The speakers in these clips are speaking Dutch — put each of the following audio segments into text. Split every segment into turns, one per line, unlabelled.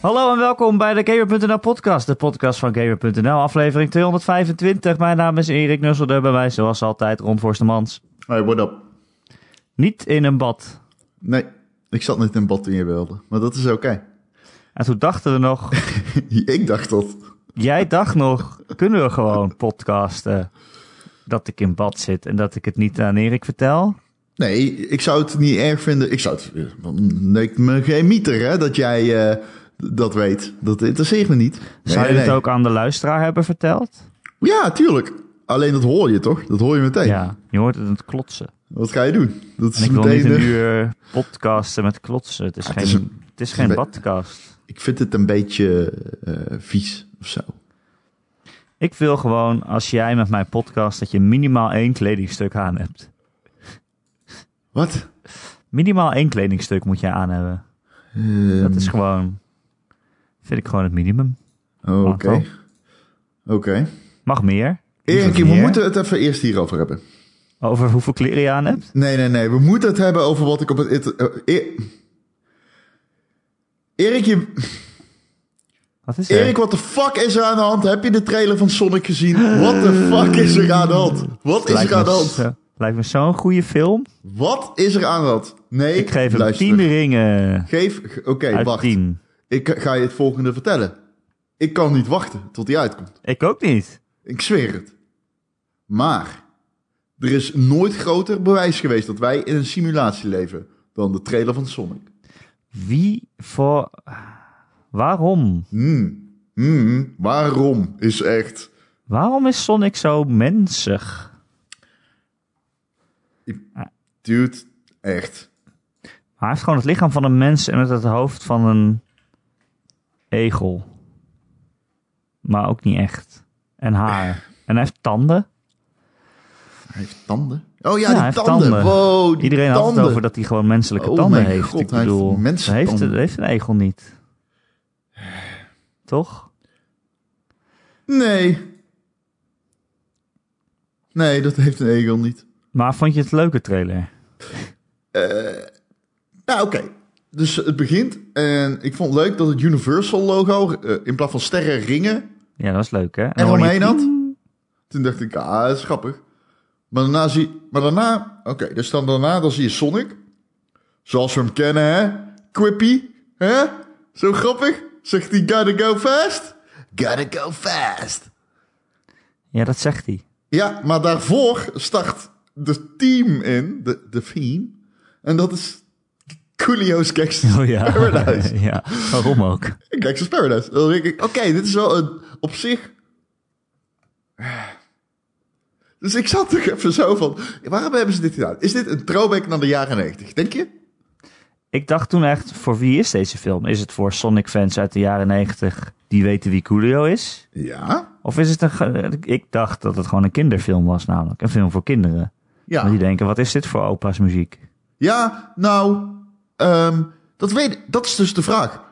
Hallo en welkom bij de Gamer.nl podcast, de podcast van Gamer.nl, aflevering 225. Mijn naam is Erik Nusselder, bij mij zoals altijd Ron Forstemans.
Hey, what up?
Niet in een bad.
Nee, ik zat niet in bad toen je wilde, maar dat is oké.
En toen dachten we nog,
ik dacht dat.
jij dacht nog, kunnen we gewoon podcasten dat ik in bad zit en dat ik het niet aan Erik vertel?
Nee, ik zou het niet erg vinden. Ik zou het. Neemt me geen mieter, hè, dat jij eh, dat weet. Dat interesseert me niet.
Zou
Nee,
je het
nee.
ook aan de luisteraar hebben verteld?
Ja, tuurlijk. Alleen dat hoor je toch? Dat hoor je meteen.
Ja, je hoort het aan het klotsen.
Wat ga je doen? Dat is
En ik wil
meteen.
niet een
eh,
uur podcasten met klotsen. Het is
Ah,
geen,
het
het is
is een-
geen
een-
badcast.
Ik vind het een beetje eh, vies of zo.
Ik wil gewoon, als jij met mijn podcast, dat je minimaal één kledingstuk aan hebt.
Wat?
Minimaal één kledingstuk moet jij aan hebben.
Ehm,
Dat is gewoon, vind ik gewoon het minimum.
Oké.
aantal.
Oké.
Mag meer.
Erik,
Liever
we
meer.
moeten het even eerst hierover hebben.
Over hoeveel kleren je aan hebt?
Nee, nee, nee. We moeten het hebben over wat ik op het... inter- eh, E- Erik, je,
Wat is er?
Erik, wat de fuck is er aan de hand? Heb je de trailer van Sonic gezien? Wat de fuck is er aan de hand? Wat is
Ah. lijkt,
er aan de
me,
hand?
zo- lijkt me zo'n goede film.
Wat is er aan de hand? Nee,
Ik geef hem
luister.
10 ringen
Geef, ge- oké,
uit
wacht.
10.
Ik ga je het volgende vertellen. Ik kan niet wachten tot die uitkomt.
Ik ook niet.
Ik zweer het. Maar er is nooit groter bewijs geweest dat wij in een simulatie leven dan de trailer van Sonic.
Wie voor... Waarom?
Hmm. Hmm. Waarom is echt.
Waarom is Sonic zo mensig?
Dude, echt.
Hij heeft gewoon het lichaam van een mens en met het hoofd van een egel. Maar ook niet echt. En haar. En hij heeft tanden.
Hij heeft tanden. Oh ja,
Ja,
die
hij heeft
tanden.
tanden.
Wow, die
Iedereen had
tanden.
het over dat hij gewoon menselijke
Oh
tanden
mijn
heeft.
God,
Ik
hij heeft
bedoel, dat
mensentanden.
heeft, dat heeft een egel niet. Toch?
Nee. Nee, dat heeft een egel niet.
Maar vond je het een leuke trailer?
Nou, oké. Dus het begint. En ik vond het leuk dat het Universal logo eh, in plaats van sterren ringen.
Ja, dat was leuk hè? En
En
dan hoor je
omheen had.
ping.
Toen dacht ik, ah, dat is grappig. Maar daarna zie Maar daarna. Oké, dus dan daarna dan zie je Sonic. Zoals we hem kennen, hè? Quippy. Hè? Zo grappig. Zegt hij, gotta go fast. Gotta go fast.
Ja, dat zegt hij.
Ja, maar daarvoor start de team in. De, de theme. En dat is Coolio's Gangsters
Oh ja.
Paradise.
ja, waarom ook?
Gangsters Paradise. Dan denk ik, oké, dit is wel een, op zich... Dus ik zat toch even zo van, waarom hebben ze dit gedaan? Is dit een throwback naar de jaren 90? denk je?
Ik dacht toen echt, voor wie is deze film? Is het voor Sonic-fans uit de jaren 90 die weten wie Coolio is?
Ja.
Of is het een... ge- Ik dacht dat het gewoon een kinderfilm was namelijk. Een film voor kinderen. Maar die
Ja,
denken, wat is dit voor opa's muziek?
ja nou, ehm, dat, weet, dat is dus de vraag.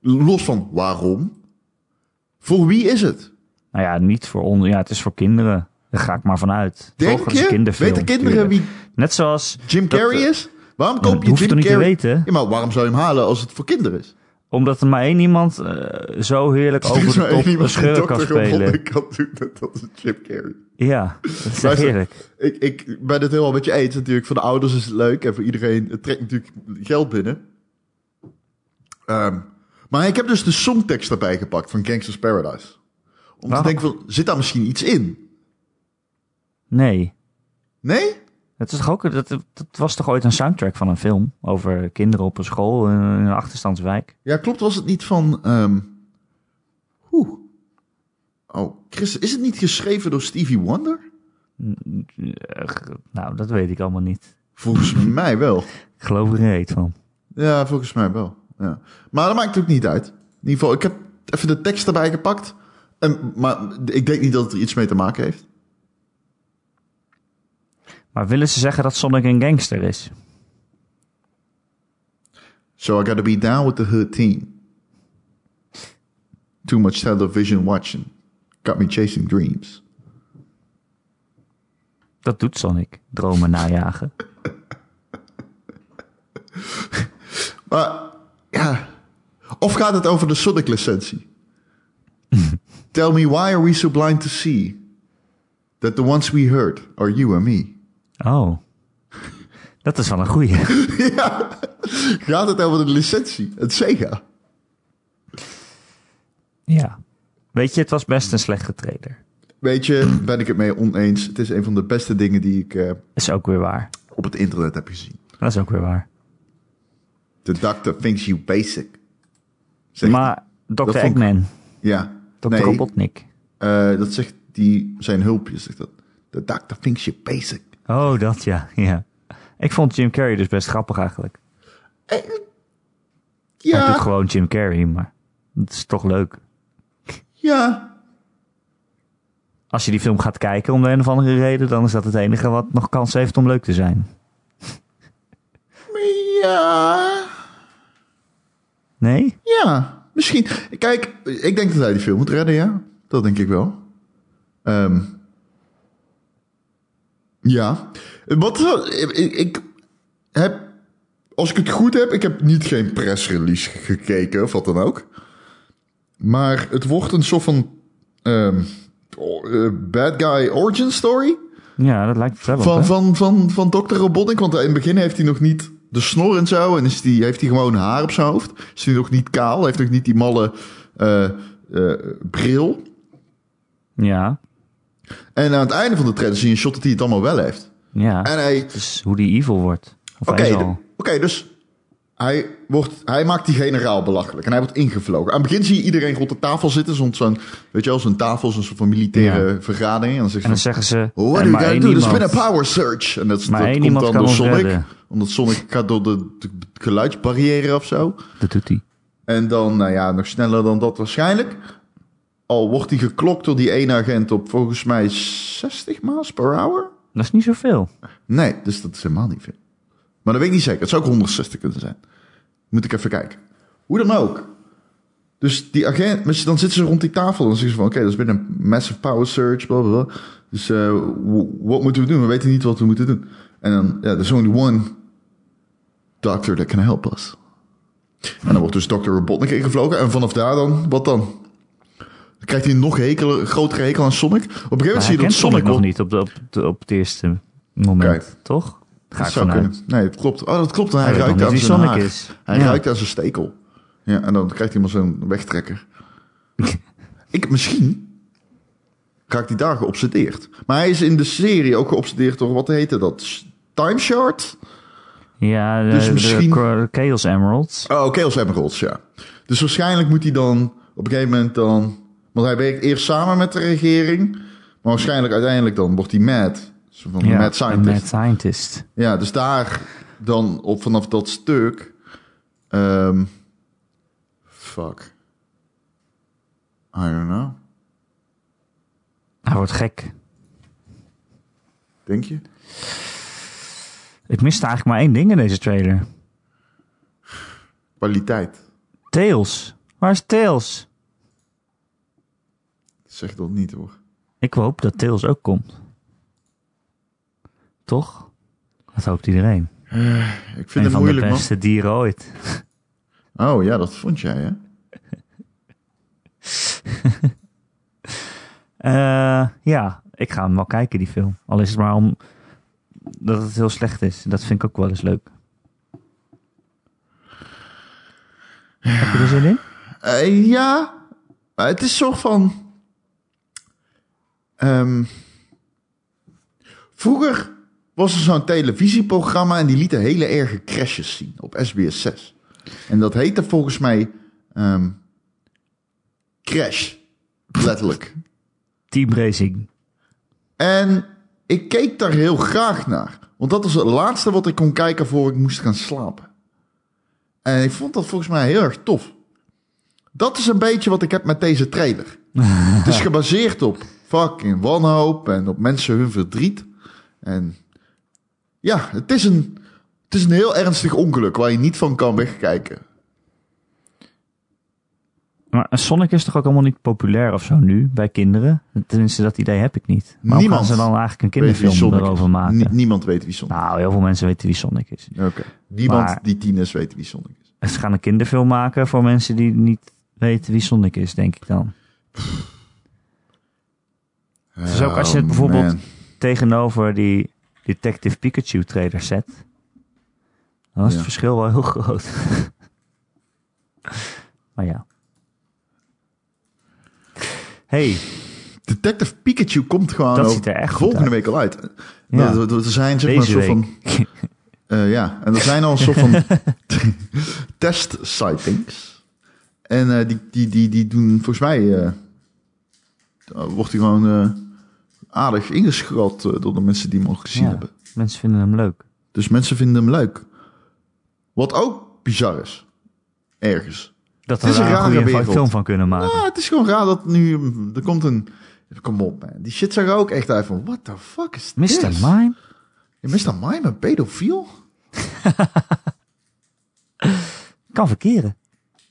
Los van waarom, voor wie is het?
Nou ja, niet voor onder. Ja, het is voor kinderen. Daar ga ik maar vanuit.
Denk
Toch, het is een
je?
kinderfilm,
Weten kinderen
tuurlijk.
wie
Net zoals...
Jim
dat,
Carrey
eh,
is? Waarom
ja,
koop
dat
je
hoeft
Jim
toch niet te
Carrey?
weten?
Ja, maar waarom zou je hem halen als het voor kinderen is?
Omdat er maar één iemand eh, zo heerlijk over de top een schurk kan spelen.
Ik kan doen, dat, dat is Jim Carrey.
Ja, dat is echt
Luister,
heerlijk.
Ik, ik ben het helemaal met je eens natuurlijk. Voor de ouders is het leuk en voor iedereen. Het trekt natuurlijk geld binnen. Ehm, maar ik heb dus de songtekst erbij gepakt van Gangsters Paradise. Om
Waarom?
te denken van, zit daar misschien iets in?
Nee.
Nee?
Het is toch ook, dat, dat was toch ooit een soundtrack van een film? Over kinderen op een school in een achterstandswijk.
Ja, klopt. Was het niet van... ehm Oeh. Oh, Chris, is het niet geschreven door Stevie Wonder?
Ugh, Nou, dat weet ik allemaal niet.
Volgens mij wel.
Ik geloof er geen reet van.
Ja, volgens mij wel. Ja. Maar dat maakt ook niet uit. In ieder geval, ik heb even de tekst erbij gepakt. En, maar ik denk niet dat het er iets mee te maken heeft.
Maar willen ze zeggen dat Sonic een gangster is?
So I gotta be down with the hood team. Too much television watching. Got me chasing dreams.
Dat doet Sonic. Dromen najagen.
Maar ja. Oké, Of gaat het over de Sonic-licentie? Tell me why are we so blind to see that the ones we hurt are you and me?
Oh. Dat is wel een goeie.
ja, gaat het over de licentie, het Sega?
Ja. Weet je, het was best een slechte trailer.
Weet je, ben ik het mee oneens. Het is een van de beste dingen die ik eh,
Is ook weer waar.
op het internet heb gezien.
Dat is ook weer waar.
The doctor thinks you basic. Zegt
Maar Dr.
vond ik-
Eggman,
Ja.
Dr.
Nee,
Robotnik.
eh, dat zegt die, zijn hulpje, zegt dat. The doctor thinks you basic.
Oh, dat ja. ja. Ik vond Jim Carrey dus best grappig eigenlijk. Hij doet
Eh, Ja,
gewoon Jim Carrey, maar het is toch leuk.
ja.
Als je die film gaat kijken om de een of andere reden, dan is dat het enige wat nog kans heeft om leuk te zijn.
Ja.
Nee?
Ja, misschien. Kijk, ik denk dat hij die film moet redden, ja. Dat denk ik wel. Ehm, ja. Wat, ik, ik heb, als ik het goed heb, ik heb niet geen pressrelease gekeken of wat dan ook. Maar het wordt een soort van ehm, o- eh, bad guy origin story
Ja, dat lijkt het wel op,
van,
hè?
van, van, van Dr. Robotnik. Want in het begin heeft hij nog niet de snor en zo. En is die, heeft hij gewoon haar op zijn hoofd. Is hij nog niet kaal. Heeft nog niet die malle eh, eh, bril.
Ja,
En aan het einde van de trailer zie je een shot dat hij het allemaal wel heeft.
ja.
En hij...
Het is Dus hoe die evil wordt. Of
Oké,
hij is
d-
al.
oké, dus hij, wordt, hij maakt die generaal belachelijk. En hij wordt ingevlogen. Aan het begin zie je iedereen rond de tafel zitten. Zo'n, zo'n- weet je wel, zo'n tafel, zo'n soort van militaire vergadering. En dan zegt
En
hij
dan zeggen ze...
What
en
do you
maar
gotta
één
do? There's
iemand.
been a power surge. En dat,
Maar
dat
één
komt
iemand
dan
kan
door
ons
Sonic.
redden.
Omdat Sonic gaat door de, de, de geluidsbarrière of zo.
Dat doet hij.
En dan, nou ja, nog sneller dan dat waarschijnlijk. Al wordt hij geklokt door die ene agent op volgens mij 60 miles per hour?
Dat is niet zoveel.
Nee, dus dat is helemaal niet veel. Maar dat weet ik niet zeker. Het zou ook 160 kunnen zijn. Moet ik even kijken. Hoe dan ook. Dus die agent, maar ze- dan zitten ze rond die tafel. Dan zeggen ze van, oké, dat is binnen een massive power surge, bla bla bla. Dus eh, w- wat moeten we doen? We weten niet wat we moeten doen. En dan, ja, there's only one doctor that can help us. En dan wordt dus Dr. Robotnik ingevlogen. En vanaf daar dan, wat dan? Dan krijgt hij een nog hekeler, grotere hekel aan Sonic. Op een gegeven moment
Maar
zie
hij
je dat
kent Sonic
Sonic
nog
wordt
niet op, de, op, de- op het eerste moment,
Kijk.
toch? Ga
Dat
ik
zou
vanuit.
kunnen. Nee, dat klopt. Oh, dat klopt. En hij,
Hij weet
ruikt
nog
aan
niet
zijn
wie
haar.
Sonic is.
Hij
Ja.
ruikt aan zijn stekel. Ja, en dan krijgt hij maar zo'n wegtrekker. Ik, misschien raakt hij daar geobsedeerd. Maar hij is in de serie ook geobsedeerd door, wat heette dat? Time Shard?
Ja, de,
Dus
de
misschien-
Cro- Chaos Emeralds.
Oh, Chaos Emeralds, ja. Dus waarschijnlijk moet hij dan op een gegeven moment dan... Want hij werkt eerst samen met de regering. Maar waarschijnlijk uiteindelijk dan wordt hij mad. Zo van
Ja,
mad
een
scientist.
Mad Scientist.
Ja, dus daar dan op vanaf dat stuk. ehm, fuck. I don't know.
Hij wordt gek.
Denk je?
Ik miste eigenlijk maar één ding in deze trailer.
Kwaliteit.
Tails. Waar is Tails?
Zeg dat niet hoor.
Ik hoop dat Tails ook komt. Toch? Dat hoopt iedereen.
Ik vind
Een
het
van
moeilijk
de
man.
beste dieren ooit.
Oh ja, dat vond jij hè?
Eh, ja, ik ga hem wel kijken, die film. Al is het maar om dat het heel slecht is. Dat vind ik ook wel eens leuk. Heb je er zin in?
Eh, ja, Eh, het is soort van. ehm, vroeger was er zo'n televisieprogramma en die lieten hele erge crashes zien op SBS 6. En dat heette volgens mij ehm, Crash, letterlijk.
Team Racing.
En ik keek daar heel graag naar. Want dat was het laatste wat ik kon kijken voor ik moest gaan slapen. En ik vond dat volgens mij heel erg tof. Dat is een beetje wat ik heb met deze trailer. Het is gebaseerd op fucking wanhoop en op mensen hun verdriet. En ja, het is een, het is een heel ernstig ongeluk waar je niet van kan wegkijken.
Maar Sonic is toch ook helemaal niet populair of zo nu bij kinderen? Tenminste, dat idee heb ik niet. Maar
Niemand
gaan ze dan eigenlijk een
Weet wie
kinderfilm
is.
erover maken?
Nie- niemand weet wie Sonic
Nou, heel veel mensen weten wie Sonic is.
is. Oké. Niemand
Maar-
die tien is weet wie Sonic is.
Ze gaan een kinderfilm maken voor mensen die niet weten wie Sonic is, denk ik dan.
Het
is Dus ook als
Oh,
je het bijvoorbeeld- Tegenover die Detective Pikachu trailer set. Dan is
Ja.
het verschil wel heel groot. maar ja. Hey,
Detective Pikachu komt gewoon
Dat
ook
ziet er echt goed
volgende
uit.
week al uit.
Ja.
Er- Er er zijn zeg maar een
deze
soort
week.
van... eh, ja, en er zijn al een soort van test sightings. En eh, die, die, die, die doen volgens mij... eh, wordt hij gewoon eh, aardig ingeschat eh, door de mensen die hem al gezien
Ja.
hebben.
Mensen vinden hem leuk.
Dus mensen vinden hem leuk. Wat ook bizar is. Ergens.
Dat
Het
we
is een
daar
rare
een goede
wereld.
film van kunnen maken.
Ah, het is gewoon raar dat nu... hm, Er komt een... Kom op, man. Die shit zag er ook echt uit van... What the fuck is
Mr.
dit?
Mime?
Je mist aan mij met pedofiel?
Kan verkeren.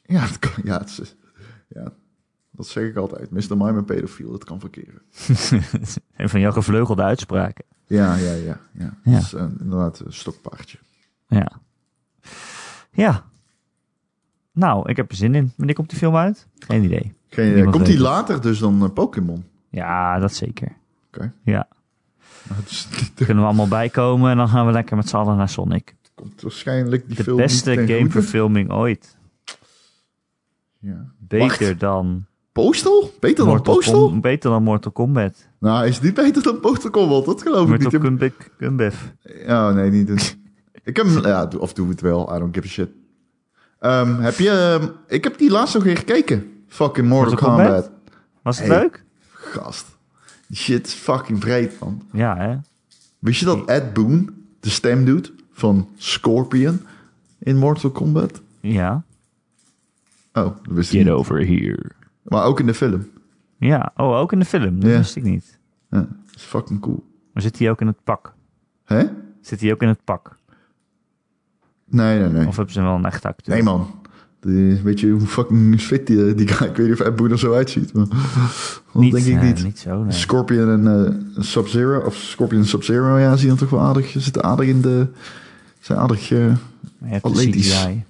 Ja, dat kan, ja, het is- ja, dat zeg ik altijd. Mr. Mime en pedofiel, dat kan verkeren.
een van jouw gevleugelde uitspraken.
Ja, ja, ja. ja.
Ja.
Dat is een, inderdaad een stokpaardje.
Ja. Ja. Nou, ik heb er zin in. Wanneer komt die film uit? Geen idee.
Geen, idee.
Niemand
komt die
weet het.
later dus dan eh, Pokémon?
Ja, dat zeker.
Oké.
Ja. Oh,
Het is-
Kunnen we allemaal bijkomen en dan gaan we lekker met z'n allen naar Sonic.
komt waarschijnlijk die
De
film
beste
niet ten goede.
gameverfilming ooit.
Ja.
Beter dan,
Postal? Beter dan
Mortal
Postal?
Kom- beter dan Mortal Kombat.
Nou, is die beter dan Postal Combat? Dat geloof ik
Mortal
niet.
Kombat Kumbef.
Oh, nee, niet doen. ik heb, hem- ja, doe- of doe het wel. I don't give a shit. Ehm, heb je... ehm, ik heb die laatst nog weer gekeken. Fucking Mortal,
Mortal Kombat?
Kombat.
Was het
Hey.
leuk?
Gast. Die shit is fucking breed, man.
Ja, hè?
Wist je dat Ed Boon de stem doet van Scorpion in Mortal Kombat?
Ja.
Oh, dat wist ik niet.
over here.
Maar ook in de film.
Ja, oh, ook in de film. Dat
Ja.
wist ik niet.
Ja, dat is fucking cool.
Maar zit hij ook in het pak?
Hè?
Zit hij ook in het pak?
Nee, nee, nee.
Of hebben ze hem wel een echte acteur?
Nee, man. Die- weet je hoe fucking fit die, die guy... Ik weet niet of Ed Boon er zo uitziet, maar... Dat
niet,
denk ik
eh,
niet.
niet zo, nee.
Scorpion en eh, Sub-Zero, of Scorpion en Sub-Zero, ja, zien er toch wel aardig... Zitten aardig in de... Zijn aardig... eh,
Maar je hebt de
Atletisch.
CGI.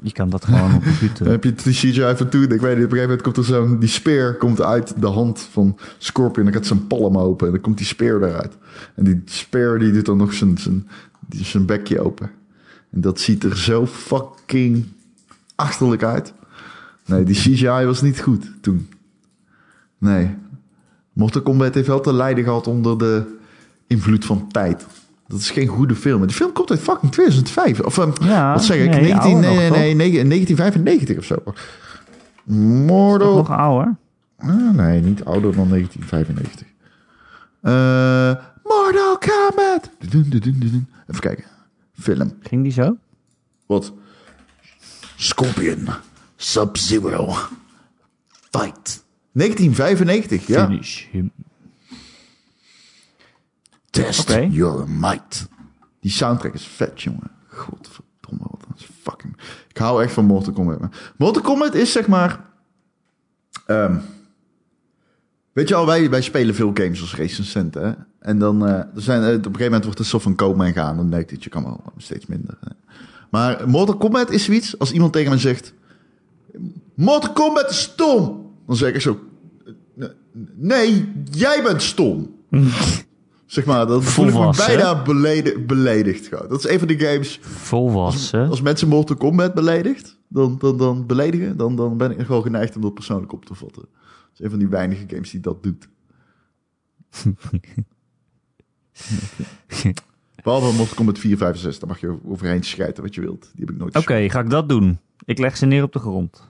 Je kan dat gewoon op de
Dan
computer.
heb je de CGI van toen. Ik weet niet, op een gegeven moment komt er zo'n... Die speer komt uit de hand van Scorpion. Dan gaat zijn palm open en dan komt die speer eruit. En die speer die doet dan nog zijn, zijn, die- zijn bekje open. En dat ziet er zo fucking achterlijk uit. Nee, die CGI was niet goed toen. Nee. Mortal Kombat heeft wel te lijden gehad onder de invloed van tijd. Dat is geen goede film. Die film komt uit fucking 2005. Of ehm,
Ja,
wat zeg ik?
nee,
19,
ouder
nee,
nog,
nee,
toch?
nee, negen- 1995 of zo.
Toch
Mortal...
nog ouder?
Ah, nee, niet ouder dan 1995. Eh Mortal Kombat! Dudun, dudun, dudun. Even kijken. Film.
Ging die zo?
Wat? Scorpion. Sub-Zero. Fight. 1995, ja.
Finish him.
Test
Oké.
your might. Die soundtrack is vet, jongen. Godverdomme, wat een fucking... Ik hou echt van Mortal Kombat. man. Mortal Kombat is zeg maar... ehm, weet je al, wij, wij spelen veel games als recensent, hè? En dan eh, er zijn, eh, op een gegeven moment wordt het soort van komen en gaan. Dan denkt het, je kan wel steeds minder. hè. Maar Mortal Kombat is zoiets, als iemand tegen me zegt... Mortal Kombat is stom! Dan zeg ik zo... Nee, jij bent stom! Zeg maar, dat voel ik me
Volwassen.
bijna beledi- beledigd. Gewoon. Dat is een van de games.
Volwassen.
Als mensen Mortal Kombat beledigt, dan, dan, dan beledigen, dan, dan ben ik gewoon geneigd om dat persoonlijk op te vatten. Dat is een van die weinige games die dat doet. Behalve Mortal Kombat 4, 5 en 6. Daar mag je overheen schijten wat je wilt. Die heb ik nooit
Oké, ga ik dat doen? Ik leg ze neer op de grond.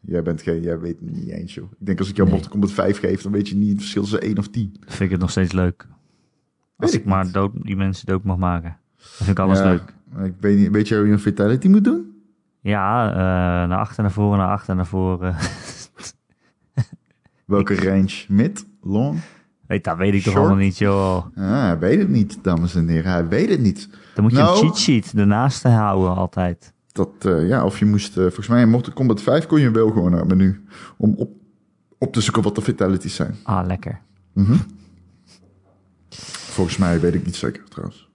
Jij bent geen, jij weet het niet eens, joh. Ik denk als ik jou
Nee.
Mortal Kombat 5 geef, dan weet je niet het verschil tussen 1 of 10.
Vind ik het nog steeds leuk. Als
ik
ik maar dood, die mensen dood mag maken. Dan vind ik alles
Ja,
leuk.
Ik weet niet, weet je hoe je een fatality moet doen?
Ja, eh, naar achter, naar voren, naar achter, naar voren.
Welke range? Mid? Long?
Weet, dat weet ik toch
Short?
allemaal niet, joh.
Ah, hij weet het niet, dames en heren. Hij weet het niet.
Dan moet je
Nou.
een cheat sheet ernaast houden altijd.
Dat, eh, ja, of je moest, eh, volgens mij in Mortal Kombat 5 kon je wel gewoon naar het menu. Om op, op te zoeken wat de fatalities zijn.
Ah, lekker.
Volgens mij weet ik niet zeker trouwens.
Oké,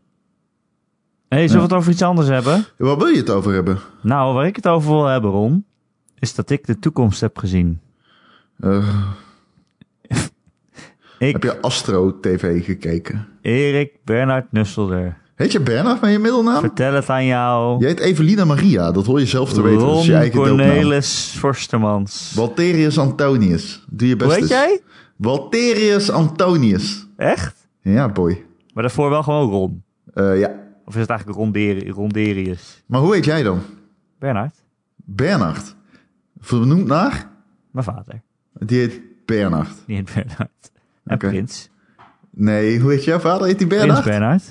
hey, zullen we het over iets anders hebben?
Waar wil je het over hebben?
Nou, waar ik het over wil hebben, Ron, is dat ik de toekomst heb gezien.
Eh,
Ik,
heb je Astro TV gekeken?
Erik Bernard Nusselder,
Heet je Bernard met je middelnaam?
vertel het aan jou.
Je heet Evelina Maria, dat hoor je zelf te weten. Dat is je
Ron
eigen deelnaam.
Cornelis Forstermans.
Walterius Antonius. Doe je best
Hoe heet
eens.
jij?
Walterius Antonius.
Echt?
Ja, boy.
Maar daarvoor wel gewoon Ron.
Eh, ja.
Of is het eigenlijk Ronderi- Ronderius?
Maar hoe heet jij dan?
Bernard,
Bernard. Vernoemd naar?
mijn vader.
Die heet Bernard.
Niet Bernard. En
Oké.
Prins.
Nee, hoe heet jouw vader? Heet die
Prins
Bernard?
Bernard.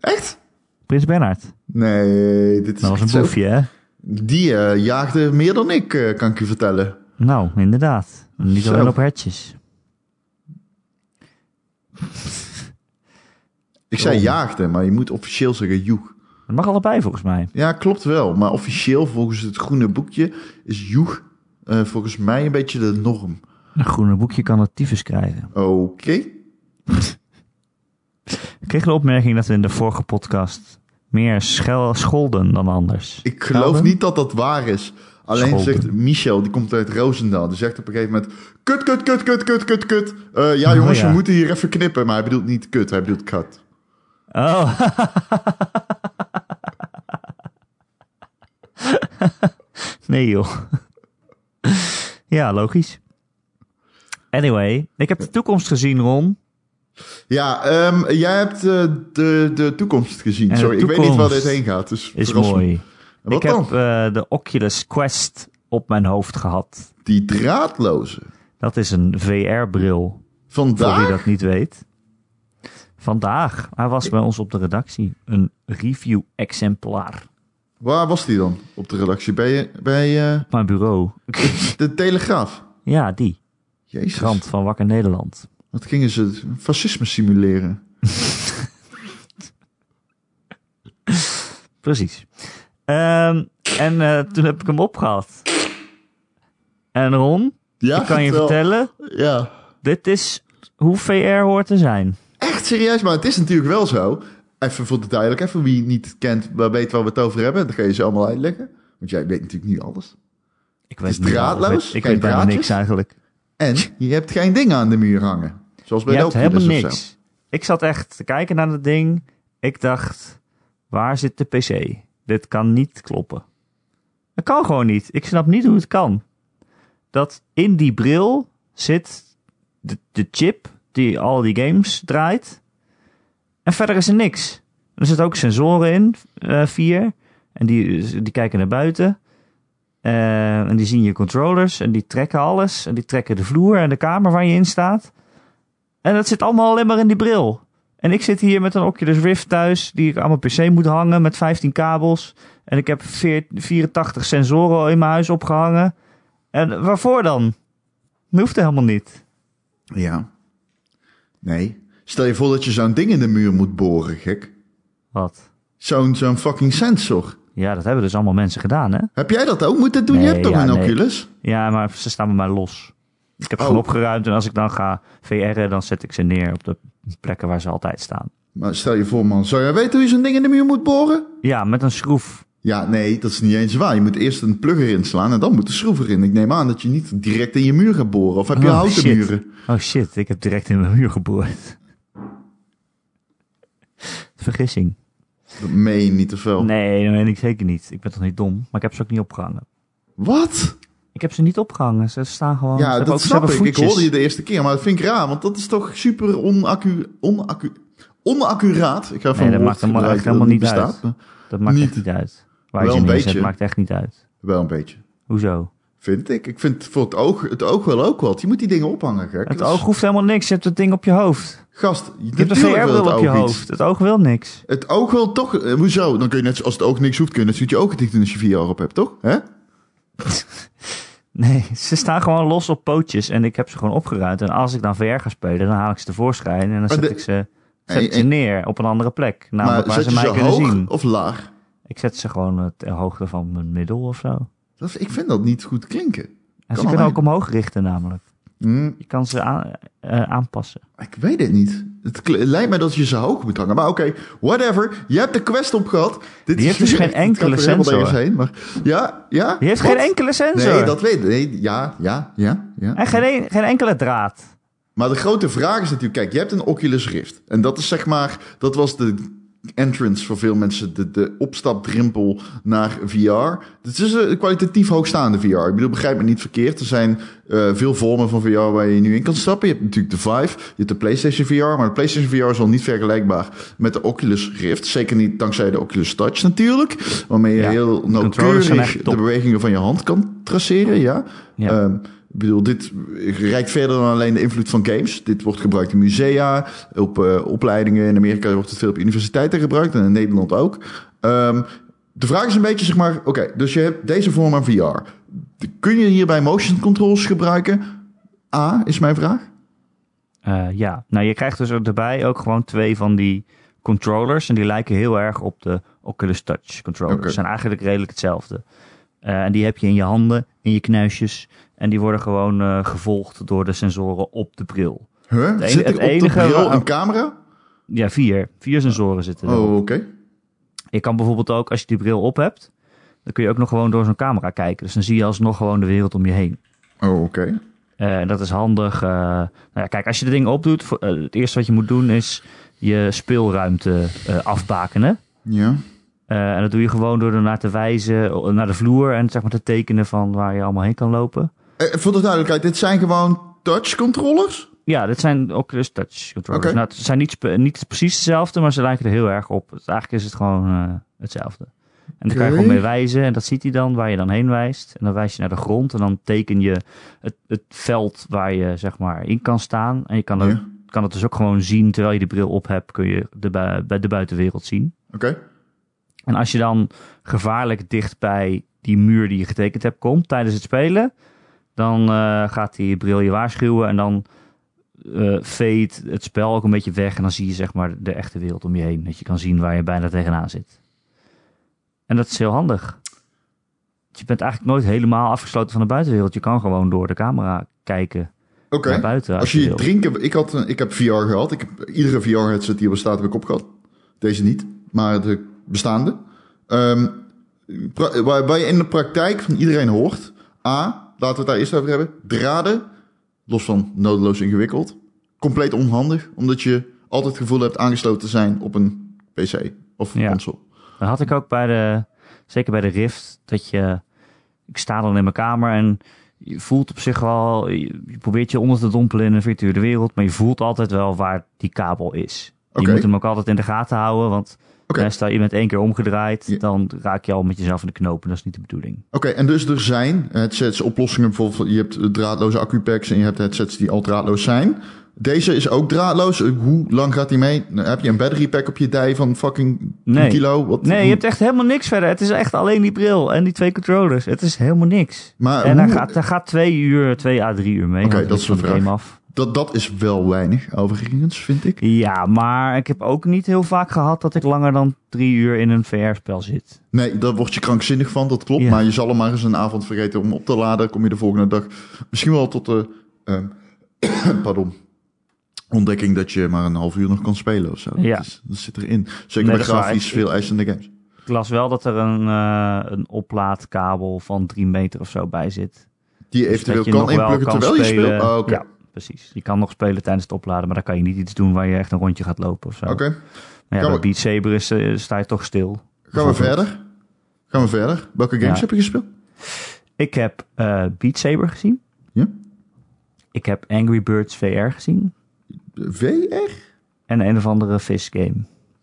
Echt?
Prins Bernard.
Nee, dit is
Dat was
echt
een
zo.
boefje, hè?
Die eh, jaagde meer dan ik, eh, kan ik je vertellen.
Nou, inderdaad. Niet
Zo.
alleen op hertjes.
Ik zei
Oh.
jaagde, maar je moet officieel zeggen joeg.
Dat mag allebei volgens mij.
Ja, klopt wel. Maar officieel, volgens het groene boekje, is joeg eh, volgens mij een beetje de norm.
Een groene boekje kan het tyfus krijgen.
Oké.
Ik kreeg de opmerking dat we in de vorige podcast meer schel scholden dan anders.
Ik geloof
Helden?
niet dat dat waar is. Alleen
Scholden.
zegt Michel, die komt uit Roosendaal. Die zegt op een gegeven moment... Kut, kut, kut, kut, kut, kut, kut. Eh, ja,
Oh,
jongens,
ja.
we moeten hier even knippen. Maar hij bedoelt niet kut, hij bedoelt kat.
Oh. nee joh. ja, logisch. Anyway, ik heb de toekomst gezien, Ron.
Ja, ehm, jij hebt eh, de, de toekomst gezien.
En Eh, de
Sorry, ik weet niet waar
toekomst
dit heen gaat. Dus
Is
verras me.
mooi.
Wat
ik
dan?
heb eh, de Oculus Quest op mijn hoofd gehad.
Die draadloze.
Dat is een VR-bril, voor wie
Vandaag?
dat niet weet. Vandaag, hij was bij ons op de redactie, een review-exemplaar.
Waar was die dan? Op de redactie? Bij, bij eh,
Op mijn bureau.
de Telegraaf?
ja, die.
Jezus.
Krant van Wakker Nederland.
Wat gingen ze? Fascisme simuleren.
Precies. Ehm, en eh, toen heb ik hem opgehaald. En Ron,
Ja,
ik kan je
vertel.
vertellen,
Ja.
dit is hoe VR hoort te zijn.
Echt serieus, maar het is natuurlijk wel zo. Even voor de duidelijk, even wie niet kent, maar weet waar we het over hebben. Dan ga je ze allemaal uitleggen. Want jij weet natuurlijk niet alles.
Ik weet
is
niet waarom.
draadloos,
Ik weet, ik
geen
weet bijna
draadjes.
niks eigenlijk.
En je hebt geen dingen aan de muur hangen. Zoals bij
Je
de
hebt helemaal
Oculus of zo.
niks. Ik zat echt te kijken naar dat ding. Ik dacht, waar zit de PC? Dit kan niet kloppen. Dat kan gewoon niet. Ik snap niet hoe het kan. Dat in die bril zit de, de chip die al die games draait. En verder is er niks. Er zitten ook sensoren in, eh, vier. En die, die kijken naar buiten. Eh, en die zien je controllers. En die trekken alles. En die trekken de vloer en de kamer waar je in staat. En dat zit allemaal alleen maar in die bril. En ik zit hier met een Oculus Rift thuis, die ik aan mijn PC moet hangen met 15 kabels. En ik heb veer- 84 sensoren al in mijn huis opgehangen. En waarvoor dan? Dat hoeft helemaal niet.
Ja. Nee. Stel je voor dat je zo'n ding in de muur moet boren, gek.
Wat?
Zo'n zo'n fucking sensor.
Ja, dat hebben dus allemaal mensen gedaan, hè?
Heb jij dat ook moeten doen?
Nee,
je hebt toch
ja,
een
nee.
Oculus?
Ja, maar ze staan bij mij los. Ik heb ze
Oh.
gewoon opgeruimd en als ik dan ga VR'en, dan zet ik ze neer op de plekken waar ze altijd staan.
Maar stel je voor, man, zou jij weten hoe je zo'n ding in de muur moet boren?
Ja, met een schroef.
Ja, nee, dat is niet eens waar. Je moet eerst een plug erin slaan en dan moet de schroef erin. Ik neem aan dat je niet direct in je muur gaat boren. Of heb je
Oh,
houten
shit.
muren?
Oh shit, ik heb direct in mijn muur geboord. Vergissing.
Dat meen je niet te veel.
Nee, dat meen ik zeker niet. Ik ben toch niet dom? Maar ik heb ze ook niet opgehangen.
Wat?
Ik heb ze niet opgehangen. Ze staan gewoon... ze
Ja,
hebben ook-
dat
ze
snap
hebben
ik. Ik
voetjes.
hoorde je de eerste keer, maar dat vind ik raar. Want dat is toch super onaccu... onaccu onaccuraat. Ik ga van
Nee, dat maakt helemaal- echt helemaal niet uit. Dat maakt
Niet.
echt niet uit. Waar
Wel
je ze
een
neerzet,
beetje.
maakt echt niet uit.
Wel een beetje.
Hoezo?
Vind ik. Ik vind voor het oog, het oog wel ook wat. Je moet die dingen ophangen, gek.
Het
Dat is-
oog hoeft helemaal niks. Je hebt het ding op je hoofd.
Gast,
Je hebt een
natuurlijk wil
VR-bril
het
op je
oog iets.
hoofd. Het oog wil niks.
Het oog wil toch... eh, hoezo? Dan kun je net, zo- als het oog niks hoeft, kun je net zo goed je ogen dicht doen als je VR op hebt, toch? Hè?
Nee, ze staan gewoon los op pootjes. En ik heb ze gewoon opgeruimd. En als ik dan VR ga spelen, dan haal ik ze tevoorschijn. En dan zet
de-
ik ze... Zet
En-
ik ze
en-
neer op een andere plek. Namelijk Nou,
maar
waar
zet
ze
je
mij
ze
kunnen
hoog
zien.
of laag?
Ik zet ze gewoon eh, ter hoogte van mijn middel of zo.
Dat, ik vind dat niet goed klinken.
En ze
wel
kunnen
mee.
ook omhoog richten namelijk.
Hm,
Je kan ze aan- eh, aanpassen.
ik weet het niet. Het kl- lijkt mij dat je ze hoog moet hangen. Maar oké, whatever. Je hebt de quest op gehad. Dit
Die heeft dus geen
echt- het
enkele
gaat er helemaal
sensor.
nergens Heen, maar, ja, ja.
Die heeft
Wat?
geen enkele sensor.
Nee, dat weet ik. Nee, ja, ja, ja, ja.
En geen, een- geen enkele draad.
Maar de grote vraag is natuurlijk, kijk, je hebt een Oculus Rift. En dat is zeg maar, dat was de entrance voor veel mensen, de, de opstapdrempel naar VR. Het is een kwalitatief hoogstaande VR. Ik bedoel, begrijp me niet verkeerd. Er zijn eh, veel vormen van VR waar je nu in kan stappen. Je hebt natuurlijk de Vive, je hebt de PlayStation VR. Maar de PlayStation VR is al niet vergelijkbaar met de Oculus Rift. Zeker niet dankzij de Oculus Touch natuurlijk. Waarmee je
Ja,
heel
controllers zijn
nauwkeurig
echt top.
de bewegingen van je hand kan traceren, ja.
Ja.
Ehm, ik bedoel, dit reikt verder dan alleen de invloed van games. Dit wordt gebruikt in musea, op eh, opleidingen. In Amerika wordt het veel op universiteiten gebruikt en in Nederland ook. Ehm, de vraag is een beetje, zeg maar, oké, dus je hebt deze vorm aan VR. De- Kun je hierbij motion controls gebruiken? A, is mijn vraag.
Eh, ja, nou je krijgt dus erbij ook gewoon twee van die controllers. En die lijken heel erg op de Oculus Touch controllers.
Oké.
Ze zijn eigenlijk redelijk hetzelfde. Eh, en die heb je in je handen, in je knuisjes. En die worden gewoon eh, gevolgd door de sensoren op de bril.
Huh?
ene-
Zit er
het
op de
enige
bril
waar-
een camera?
Ja, vier. Vier sensoren zitten er.
Oh, oké.
Je kan bijvoorbeeld ook, als je die bril op hebt, dan kun je ook nog gewoon door zo'n camera kijken. Dus dan zie je alsnog gewoon de wereld om je heen.
Oh, oké.
Eh, en dat is handig. eh, nou ja, kijk, als je de dingen opdoet, voor- eh, het eerste wat je moet doen is je speelruimte eh, afbakenen.
Ja.
Eh, en dat doe je gewoon door ernaar te wijzen, eh, naar de vloer en zeg maar te tekenen van waar je allemaal heen kan lopen.
Eh, voor de duidelijkheid, dit zijn gewoon touch controllers?
Ja, dit zijn Oculus Touch controllers.
Oké.
Nou, het zijn niet, spe- niet precies hetzelfde, maar ze lijken er heel erg op. Dus eigenlijk is het gewoon eh, hetzelfde. En dan kan je
Oké.
gewoon mee wijzen en dat ziet hij dan, waar je dan heen wijst. En dan wijs je naar de grond en dan teken je het, het veld waar je zeg maar in kan staan. En je kan, er-
Ja.
kan het dus ook gewoon zien, terwijl je de bril op hebt, kun je de, bui- bij de buitenwereld zien.
Oké.
En als je dan gevaarlijk dicht bij die muur die je getekend hebt komt tijdens het spelen, dan eh, gaat die bril je waarschuwen en dan eh veet het spel ook een beetje weg en dan zie je zeg maar de echte wereld om je heen. Dat je kan zien waar je bijna tegenaan zit. En dat is heel handig. Je bent eigenlijk nooit helemaal afgesloten van de buitenwereld. Je kan gewoon door de camera kijken
Oké.
naar buiten. Als,
Als je
je
je
wil.
drinken... Ik, had, een- ik heb VR gehad. Ik heb, iedere VR-headset die er bestaat heb ik op gehad. Deze niet, maar de bestaande. Ehm, pra- waar, waar je in de praktijk van iedereen hoort... A, laten we het daar eerst over hebben. Draden, los van nodeloos ingewikkeld. Compleet onhandig, omdat je altijd het gevoel hebt aangesloten te zijn op een PC of een
Ja.
console.
Dan had ik ook bij de, zeker bij de Rift, dat je, ik sta dan in mijn kamer en je voelt op zich wel, je je probeert je onder te dompelen in een virtuele wereld, maar je voelt altijd wel waar die kabel is.
Oké.
Je moet hem ook altijd in de gaten houden, want
Oké.
eh, stel je bent één keer omgedraaid,
Ja.
dan raak je al met jezelf in de knoop en dat is niet de bedoeling.
Oké, en dus er zijn headsets, oplossingen bijvoorbeeld. Je hebt eh, draadloze accupacks en je hebt headsets die al draadloos zijn. Deze is ook draadloos. Eh, Hoe lang gaat die mee? Nou, Heb je een battery pack op je dij van fucking
Nee.
kilo? Wat?
Nee, je hebt echt helemaal niks verder. Het is echt alleen die bril en die twee controllers. Het is helemaal niks.
Maar
en hij
hoe-
gaat, hij gaat twee uur, twee à drie uur mee.
Oké,
Hangt
dat
een
is een
beetje van de
vraag.
game af.
dat, dat is wel weinig, overigens, vind ik.
Ja, maar ik heb ook niet heel vaak gehad dat ik langer dan drie uur in een VR-spel zit.
Nee, daar word je krankzinnig van, dat klopt.
Ja.
Maar je zal hem maar eens een avond vergeten om op te laden. Kom je de volgende dag misschien wel tot de... ehm, pardon. Ontdekking dat je maar een half uur nog kan spelen of zo.
Ja.
Dat, is- dat zit erin. Zeker
Nee,
bij
dat is waar.
grafisch
Ik-
veel eisende games.
Ik las wel dat er een, eh, een oplaadkabel van drie meter of zo bij zit.
Die
Dus
eventueel
dat je
kan
nog wel
inpluggen
kan
terwijl je
spelen.
speelt. Ah, Oké,
Ja, precies. Je kan nog spelen tijdens het opladen, maar dan kan je niet iets doen waar je echt een rondje gaat lopen of zo.
oké.
Maar ja,
Kan
bij
we-
Beat Saber is, eh, sta je toch stil.
gaan we
Bijvoorbeeld.
verder? Gaan we verder? Welke games
Ja.
heb je gespeeld?
Ik heb eh, Beat Saber gezien.
Ja.
Ik heb Angry Birds VR gezien.
VR?
En een of andere visgame.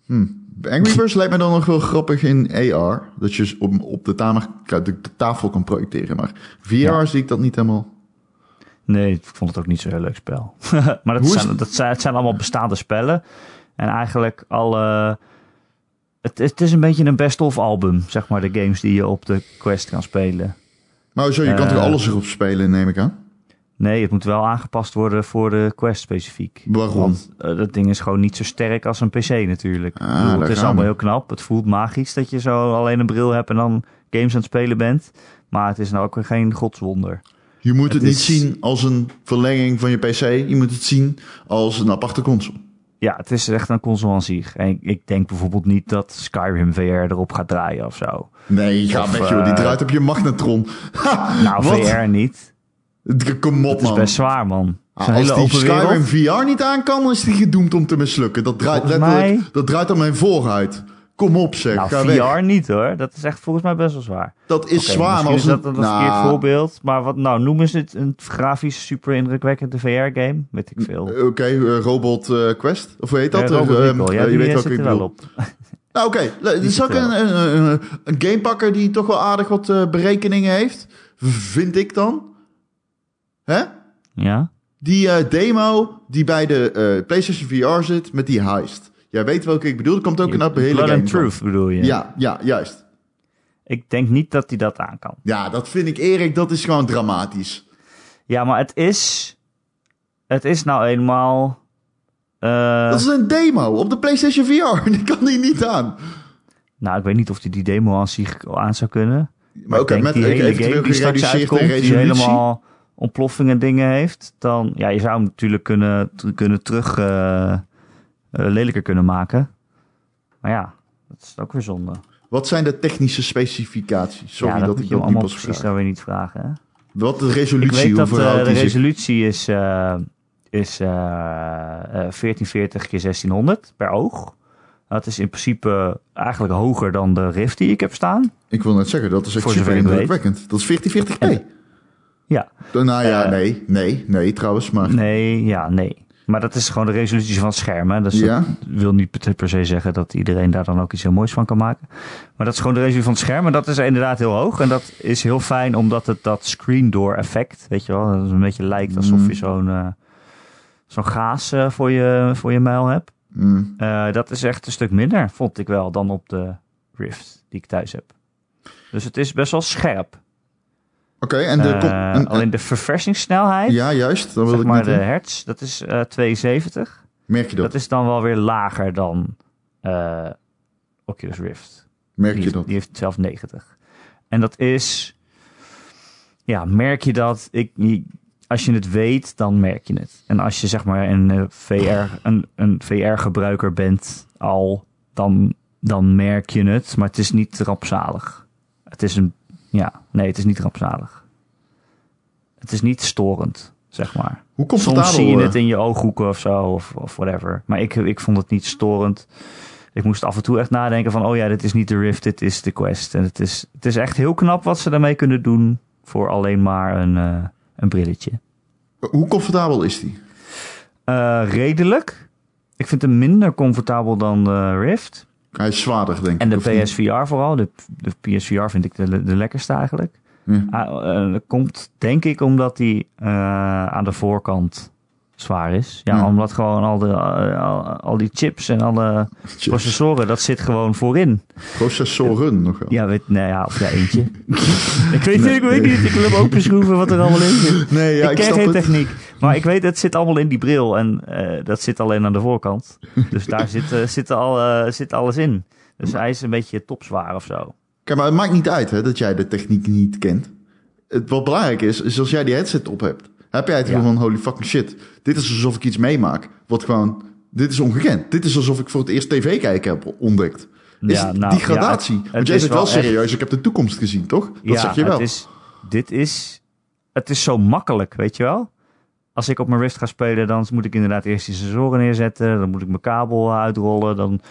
Hm. Angry Birds lijkt mij dan nog wel grappig in AR. Dat je op, op de, tamer, de, de tafel kan projecteren. Maar VR
Ja.
zie ik dat niet helemaal.
Nee, ik vond het ook niet zo'n heel leuk spel. maar dat
Hoe is
zijn,
het?
dat zijn, het zijn allemaal bestaande spellen. En eigenlijk alle... Het, het is een beetje een best-of album, zeg maar. De games die je op de Quest kan spelen.
Maar zo, je kan
Eh.
toch alles erop spelen, neem ik aan?
Nee, het moet wel aangepast worden voor de Quest specifiek.
Waarom?
Want eh, dat ding is gewoon niet zo sterk als een PC natuurlijk.
Ah,
Ik bedoel,
daar
het is
gaan
allemaal
we.
heel knap. Het voelt magisch dat je zo alleen een bril hebt en dan games aan het spelen bent. Maar het is nou ook weer geen godswonder.
Je moet het,
Het
niet
is-
zien als een verlenging van je PC. Je moet het zien als een aparte console.
Ja, het is echt een console aan zich. En ik, ik denk bijvoorbeeld niet dat Skyrim VR erop gaat draaien of zo.
Nee, ga
Of,
weg joh. Die
eh,
draait op je magnetron. Ha,
Nou,
wat?
VR niet.
Kom op
Het is
man.
best zwaar, man.
Ah,
Zo'n hele
als die
open wereld.
Skyrim VR niet aan kan, dan is die gedoemd om te mislukken. Dat draait
Volgens
letterlijk,
mij-
dat draait aan mijn vooruit. Kom op zeg,
Nou,
ga
VR
weg.
niet hoor. Dat is echt volgens mij best wel zwaar.
Dat is
Oké,
zwaar, maar
misschien
als
is
een...
dat een
Nou,
verkeerd voorbeeld. Maar wat, nou, noem eens het een grafisch super indrukwekkende VR-game. Weet ik veel.
Oké, eh, Robot eh, Quest, of hoe heet dat?
Eh, Robot
Eh, ehm,
Recall. Ja,
eh,
die
je weet
eh,
welke
zit
ik
er wel
bedoel.
op.
Nou oké, Le-
Die
dit is ook
zit er
een, een, een, een gamepakker die toch wel aardig wat eh, berekeningen heeft. v- Vind ik dan. Hè?
Ja?
Die eh, demo die bij de eh, PlayStation VR zit met die heist. Jij weet welke ik bedoel, er komt ook een hele
Blood
game
and
van.
Truth bedoel je?
Ja, ja, juist.
Ik denk niet dat hij dat aan kan.
Ja, dat vind ik Erik, dat is gewoon dramatisch.
Ja, maar het is... Het is nou eenmaal... eh,
Dat is een demo op de PlayStation VR. Die kan die niet aan.
Nou, ik weet niet of hij die demo aan, zich, aan zou kunnen.
Maar oké,
ik denk
met
die
een
hele
eventueel
game die straks
gereduceerde
uitkomt, die
resolutie.
helemaal ontploffingen dingen heeft, dan ja, je zou hem natuurlijk kunnen, t- kunnen terug eh, eh, lelijker kunnen maken. Maar ja, dat is ook weer zonde.
Wat zijn de technische specificaties? Sorry
ja,
dat,
moet
ik
je hem
dat niet
allemaal
pas
precies
vraag.
dan weer niet vragen. Hè?
Wat de
Ik
resolutie,
weet
hoe
dat eh,
verhoudt
de
die zich?
resolutie is, eh, is eh, eh, 1440 x 1600 per oog. Dat is in principe eigenlijk hoger dan de Rift die ik heb staan.
Ik wil net zeggen, dat is echt
Voor
super
zover ik weet.
indrukwekkend. Dat is 1440p.
Ja,
nou ja,
Eh,
nee, nee, nee trouwens, maar...
Nee, ja, nee. Maar dat is gewoon de resolutie van het scherm. Hè? Dus dat
Ja.
wil niet per- per se zeggen dat iedereen daar dan ook iets heel moois van kan maken. Maar dat is gewoon de resolutie van het scherm. En dat is inderdaad heel hoog. En dat is heel fijn omdat het dat screen door effect, weet je wel, dat het een beetje lijkt
Mm.
alsof je zo'n eh, zo'n gaas eh, voor, je, voor je muil hebt.
Mm.
Eh, dat is echt een stuk minder, vond ik wel, dan op de Rift die ik thuis heb. Dus het is best wel scherp.
Oké, en de...
Eh,
kom- en-
alleen de verversingssnelheid,
ja, juist, dat wil
zeg
ik
maar
niet
de
doen.
hertz, dat is eh 72.
Merk je dat,
Dat is dan wel weer lager dan eh, Oculus Rift.
merk
Die
je
heeft,
dat.
die heeft zelf 90. En dat is... Ja, merk je dat? Ik, je- als je het weet, dan merk je het. En als je zeg maar een eh, VR, een, een VR-gebruiker bent al, dan, dan merk je het. Maar het is niet rampzalig. Het is een... Ja, nee, het is niet rampzalig. Het is niet storend, zeg maar.
Hoe comfortabel...
Soms zie je
eh,
het in je ooghoeken of zo, of, of whatever. Maar ik, ik vond het niet storend. Ik moest af en toe echt nadenken van, oh ja, dit is niet de Rift, dit is de Quest. En het is, het is echt heel knap wat ze daarmee kunnen doen voor alleen maar een, eh, een brilletje.
Hoe comfortabel is die?
Eh, redelijk. Ik vind hem minder comfortabel dan de Rift.
Hij is zwaarder, denk ik.
En de
of niet?
PSVR vooral. De, de PSVR vind ik de, de lekkerste eigenlijk.
Ja.
Ah, eh, dat komt denk ik omdat die eh, aan de voorkant zwaar is. Ja,
Ja.
omdat gewoon al, de, eh, al, al die chips en alle processoren, dat zit gewoon voorin.
Processoren nog wel.
Ja, weet, nou ja, of ja, eentje. ik weet, het ik weet niet, ik wil hem openschroeven wat er allemaal in zit.
Nee, ja,
ik
ik,
ken
snap
geen
het.
techniek, maar ik weet het zit allemaal in die bril en eh, dat zit alleen aan de voorkant. Dus daar zit, eh, zit, al, eh, zit alles in. Dus hij is een beetje topzwaar of zo.
Kijk, maar het maakt niet uit hè, dat jij de techniek niet kent. Het, wat belangrijk is, is als jij die headset op hebt, heb jij het
Ja.
gevoel van holy fucking shit. Dit is alsof ik iets meemaak. Wat gewoon, dit is ongekend. Dit is alsof ik voor het eerst tv kijken heb ontdekt. Is
Ja,
het
nou,
die
ja,
gradatie.
het- het
Want jij
is
zegt wel
wel echt-
serieus, ik heb de toekomst gezien, toch? Dat
ja,
zeg je wel.
Het is, dit is, het is zo makkelijk, weet je wel. Als ik op mijn Rift ga spelen, dan moet ik inderdaad eerst die sensoren neerzetten. Dan moet ik mijn kabel uitrollen. Dan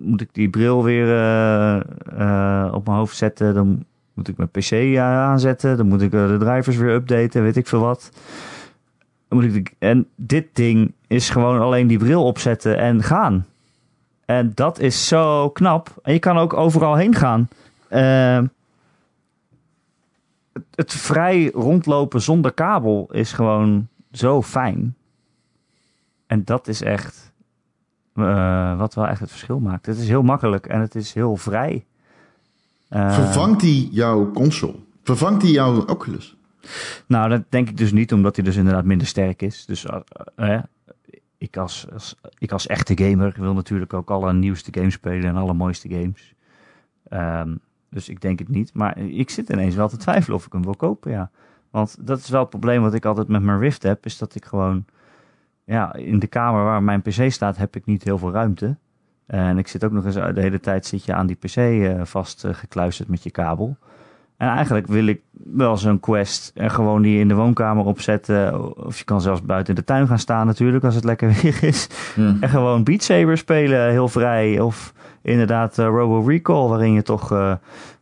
moet ik die bril weer eh, eh, op mijn hoofd zetten. Dan moet ik mijn PC a- aanzetten. Dan moet ik eh, de drivers weer updaten, weet ik veel wat. Dan moet ik de- en dit ding is gewoon alleen die bril opzetten en gaan. En dat is zo knap. En je kan ook overal heen gaan. Ehm, het, het vrij rondlopen zonder kabel is gewoon zo fijn. En dat is echt eh, wat wel echt het verschil maakt. Het is heel makkelijk en het is heel vrij. Eh,
Vervangt die jouw console? Vervangt die jouw Oculus?
Nou, dat denk ik dus niet, omdat hij dus inderdaad minder sterk is. Dus eh, eh, ik, als, als, ik als echte gamer wil natuurlijk ook alle nieuwste games spelen en alle mooiste games. Ehm, dus ik denk het niet. Maar ik zit ineens wel te twijfelen of ik hem wil kopen, ja. Want dat is wel het probleem wat ik altijd met mijn Rift heb. Is dat ik gewoon... Ja, in de kamer waar mijn pc staat heb ik niet heel veel ruimte. En ik zit ook nog eens... eh, De hele tijd zit je aan die pc eh, vast eh, gekluisterd met je kabel. En eigenlijk wil ik wel zo'n quest en gewoon die in de woonkamer opzetten. Of je kan zelfs buiten in de tuin gaan staan natuurlijk als het lekker weer is.
Ja.
En gewoon Beat Saber spelen, heel vrij. Of inderdaad eh, Robo Recall, waarin je toch eh,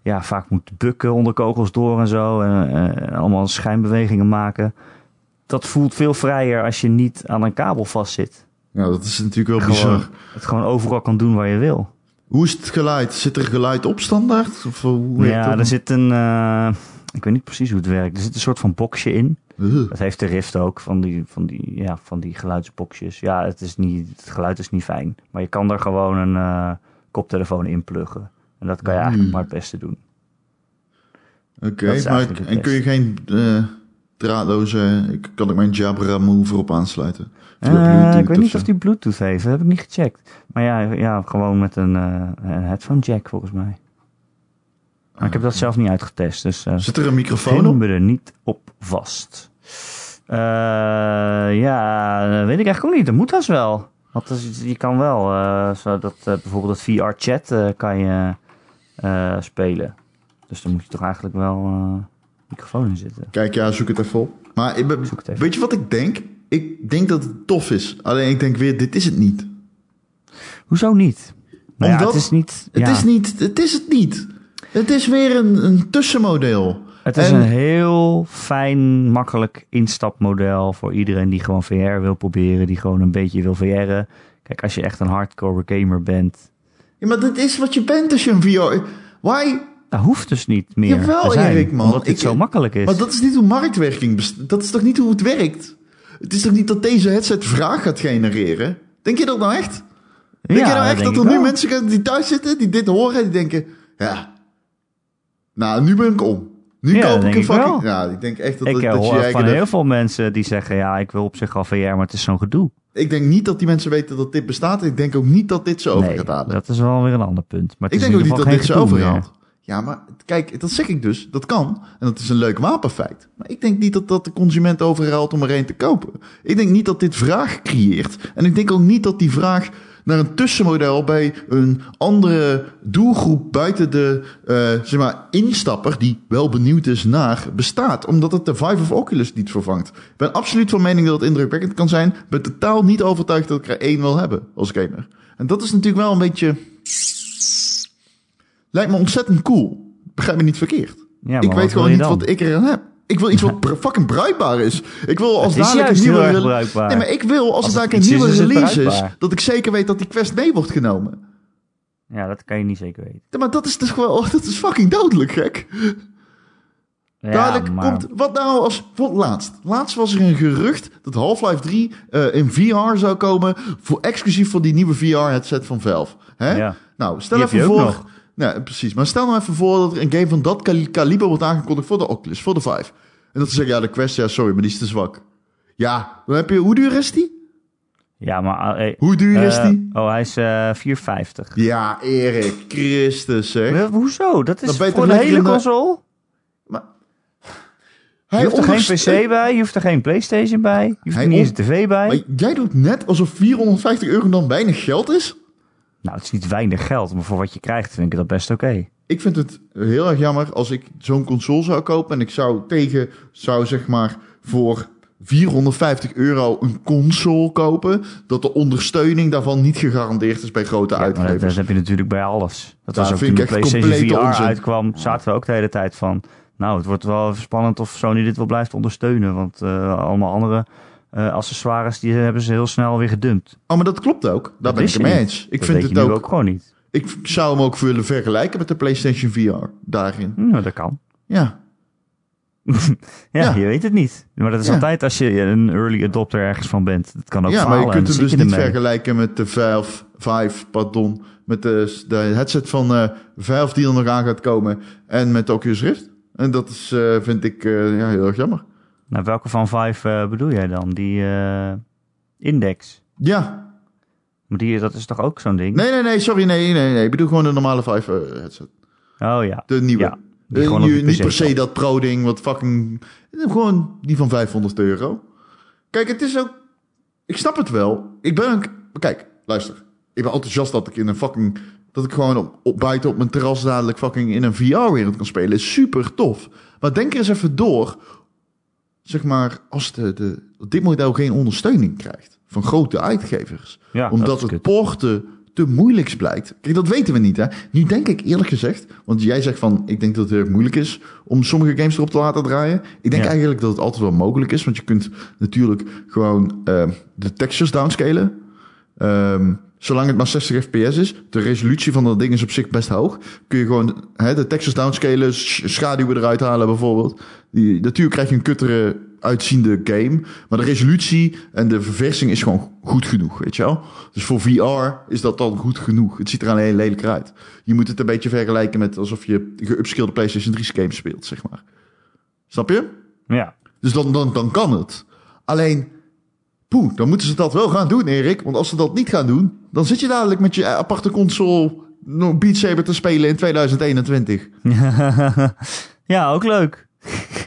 ja, vaak moet bukken onder kogels door en zo. En, eh, en allemaal schijnbewegingen maken. Dat voelt veel vrijer als je niet aan een kabel vastzit.
Ja, dat is natuurlijk wel
Gewoon.
bizar.
Het gewoon overal kan doen waar je wil.
Hoe is het geluid? Zit er geluid op standaard? Of eh, hoe heet
ja,
dat?
er zit een... eh, ik weet niet precies hoe het werkt. Er zit een soort van boxje in.
Ugh.
Dat heeft de Rift ook, van die, van die, ja, van die geluidsboxjes. Ja, het, is niet, het geluid is niet fijn. Maar je kan er gewoon een eh, koptelefoon in pluggen. En dat kan je eigenlijk
Hmm.
maar het beste doen.
Oké,
dat is
maar
eigenlijk
ik-
het
en kun je geen eh, draadloze... Ik, kan ik mijn Jabra Mover op aansluiten? Via
Eh,
Bluetooth
ik weet niet
zo.
of die Bluetooth heeft, dat heb ik niet gecheckt. Maar ja, ja gewoon met een, eh, een headphone jack volgens mij. Maar ik heb
Ah,
dat zelf niet uitgetest, dus eh
Zit er een microfoon
vinden
op?
we er niet op vast. Eh, ja, dat weet ik eigenlijk ook niet. Dat moet dat wel. Want dat is- je kan wel, eh, zo dat, eh, bijvoorbeeld dat VR-chat kan je eh, spelen. Dus dan moet je toch eigenlijk wel eh, microfoon in zitten.
Kijk, ja, zoek het even op. Maar ik ben-
Zoek het even.
weet je wat ik denk? Ik denk dat het tof is. Alleen ik denk weer, dit is het niet.
Hoezo niet? Nou ja,
Omdat-
het is niet...
Het
ja.
is niet. Het is het niet. Het is weer een, een tussenmodel.
Het is
En-
een heel fijn, makkelijk instapmodel voor iedereen die gewoon VR wil proberen, die gewoon een beetje wil VR'en. Kijk, als je echt een hardcore gamer bent,
Ja, maar dit is wat je bent als je een VR... Why?
dat hoeft dus niet meer
Jawel,
te zijn,
Erik, man.
omdat dit
Ik-
zo makkelijk is.
Maar dat is niet hoe marktwerking... best- Dat is toch niet hoe het werkt? Het is toch niet dat deze headset vraag gaat genereren? Denk je dat nou echt? Denk je nou echt dat er nu mensen gaan die thuis zitten, die dit horen en die denken... Ja, nou, nu ben ik om. Nu
Ja,
koop
denk
ik een
ik
fucking...
wel.
Ja, ik denk echt dat,
Ik
dat,
eh,
dat je
hoor van
eigen...
heel veel mensen die zeggen, ja, ik wil op zich al VR, maar het is zo'n gedoe.
Ik denk niet dat die mensen weten dat dit bestaat. Ik denk ook niet dat dit ze over
Nee,
gaat halen.
dat is wel weer een ander punt. Maar het
Ik
is
denk ook
in
niet dat
ieder
dit ze
geval geen gedoe
overhaalt. Ja, maar kijk, dat zeg ik dus. Dat kan. En dat is een leuk wapenfeit. Maar ik denk niet dat dat de consument overhaalt om er een te kopen. Ik denk niet dat dit vraag creëert. En ik denk ook niet dat die vraag naar een tussenmodel bij een andere doelgroep buiten de eh, zeg maar, instapper die wel benieuwd is naar bestaat. Omdat het de Vive of Oculus niet vervangt. Ik ben absoluut van mening dat het indrukwekkend kan zijn. Ik ben totaal niet overtuigd dat ik er één wil hebben als gamer. En dat is natuurlijk wel een beetje... Lijkt me ontzettend cool. Begrijp me niet verkeerd.
meer. Ja,
ik
maar wat
weet
wil
gewoon
je
niet
dan?
wat ik eraan heb. Ik wil iets wat br- fucking bruikbaar is. Ik wil als
Het is
dadelijk
juist
een
heel
nieuwe
erg
rele-
bruikbaar.
Nee, maar ik wil als,
Als
het
het
dadelijk een
iets
nieuwe
is, is het
release is,
bruikbaar.
dat ik zeker weet dat die quest mee wordt genomen.
Ja, dat kan je niet zeker weten.
Ja, Maar dat is dus gewoon, dat is fucking dodelijk gek.
Ja,
dadelijk
maar-
komt, wat nou als, wat laatst? Laatst was er een gerucht dat Half-Life 3 eh, in VR zou komen, voor, exclusief voor die nieuwe VR-headset van Valve. Hè?
Ja.
Nou, stel
Die heb
even
je ook
voor.
nog.
Nou, precies. Maar stel nou even voor dat er een game van dat kali- kaliber wordt aangekondigd voor de Oculus, voor de Vive. En dat ze zeggen, ja, de Quest, ja, sorry, maar die is te zwak. Ja, dan heb je, hoe duur is die?
Ja, maar... eh,
Hoe duur is
eh,
die?
Oh, hij is eh 4,50.
Ja, Erik, Christus, zeg.
Maar Eh, Hoezo? Dat
Dan
is
ben je
voor
toch
de
lekker
hele
in de-
console?
Hij
je hoeft er
onderste-
geen PC bij, je hoeft er geen PlayStation bij, je hoeft
Hij
er niet eens een
on-
tv bij.
Maar jij doet net alsof 450 euro dan weinig geld is?
Nou, het is niet weinig geld, maar voor wat je krijgt vind ik dat best oké.
Ik vind het heel erg jammer als ik zo'n console zou kopen en ik zou tegen, zou zeg maar voor 450 euro een console kopen, dat de ondersteuning daarvan niet gegarandeerd is bij grote
Maar dat,
uitgevers.
dat heb je natuurlijk bij alles. Dat
Ja,
was ook
dat
toen
vind
de
ik echt
PlayStation VR
complete onzin.
uitkwam, zaten we ook de hele tijd van... Nou, het wordt wel even spannend of Sony dit wel blijft ondersteunen. Want eh, allemaal andere eh, accessoires, die hebben ze heel snel weer gedumpt. Dat
Oh, maar dat klopt ook. Daar ben ik
wist
het
je
mee
niet.
eens.
dat
Ik vind
weet
het
je nu
ook.
ook gewoon niet.
Ik zou hem ook willen vergelijken met de PlayStation VR daarin.
Nou, dat kan.
Ja.
Ja,
Ja.
je weet het niet. Maar dat is
Ja.
altijd als je een early adopter ergens van bent. Dat kan ook
ja,
falen.
maar je kunt
en
hem
dan
dus
zit je
niet
ermee.
vergelijken met de Valve, Vive, pardon, met de, de headset van eh Valve die er nog aan gaat komen en met de Oculus Rift. En dat is, eh, vind ik eh, ja, heel erg jammer.
Nou, welke van vijf eh, bedoel jij dan? Die eh, index.
Ja,
Maar die, dat is toch ook zo'n ding?
nee, nee, nee, sorry, nee, nee, nee. Ik bedoel gewoon de normale Vive eh, headset.
Oh ja.
De nieuwe.
Ja. Die
Eh,
gewoon op
je-
je
niet
PC
per se
staat.
dat pro-ding, wat fucking... eh, Gewoon die van 500 euro. Kijk, het is ook... Ik snap het wel. Ik ben ook... Kijk, luister. Ik ben enthousiast dat ik in een fucking... Dat ik gewoon op, op buiten op mijn terras dadelijk fucking in een VR-wereld kan spelen. Is super tof. Maar denk er eens even door. Zeg maar, als de, de, dit model geen ondersteuning krijgt van grote uitgevers
Ja, dat
omdat
is
het
kut.
porten te moeilijks blijkt. Kijk, dat weten we niet, hè? Nu denk ik eerlijk gezegd, want jij zegt van, ik denk dat het heel erg moeilijk is om sommige games erop te laten draaien. Ik denk
Ja.
eigenlijk dat het altijd wel mogelijk is, want je kunt natuurlijk gewoon ehm, de textures downscalen. Ehm, zolang het maar 60 fps is, de resolutie van dat ding is op zich best hoog. Kun je gewoon hè, de textures downscalen, sch- schaduwen eruit halen bijvoorbeeld. Die, natuurlijk krijg je een kuttere uitziende game. Maar de resolutie en de verversing is gewoon goed genoeg, weet je wel. Dus voor VR is dat dan goed genoeg. Het ziet er alleen lelijker uit. Je moet het een beetje vergelijken met alsof je geupskillde PlayStation 3 game speelt, zeg maar. Snap je?
Ja,
Dus dan, dan, dan kan het. Alleen, poeh, dan moeten ze dat wel gaan doen, Erik. Want als ze dat niet gaan doen, dan zit je dadelijk met je eh, aparte console nog Beat Saber te spelen in 2021.
ja ook leuk.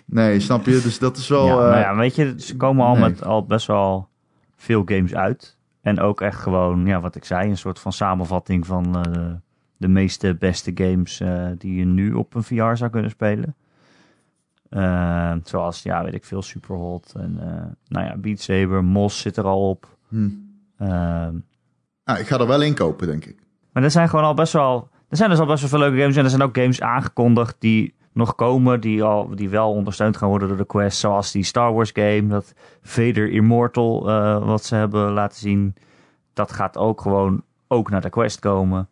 Nee, snap je? Dus dat is wel...
ja, nou
eh,
ja, weet je, ze komen al
nee.
met al best wel veel games uit. En ook echt gewoon, ja, wat ik zei, een soort van samenvatting van eh, de meeste beste games eh, die je nu op een VR zou kunnen spelen. Eh, zoals, ja, weet ik veel, Superhot en eh, nou ja, Beat Saber, Mos zit er al op.
hm.
Ehm,
Ah, ik ga er wel in kopen, denk ik.
maar er zijn gewoon al best wel, er zijn dus al best wel veel leuke games en er zijn ook games aangekondigd die nog komen, die, al, die wel ondersteund gaan worden door de Quest, zoals die Star Wars game, dat Vader Immortal eh, wat ze hebben laten zien, dat gaat ook gewoon ook naar de Quest komen.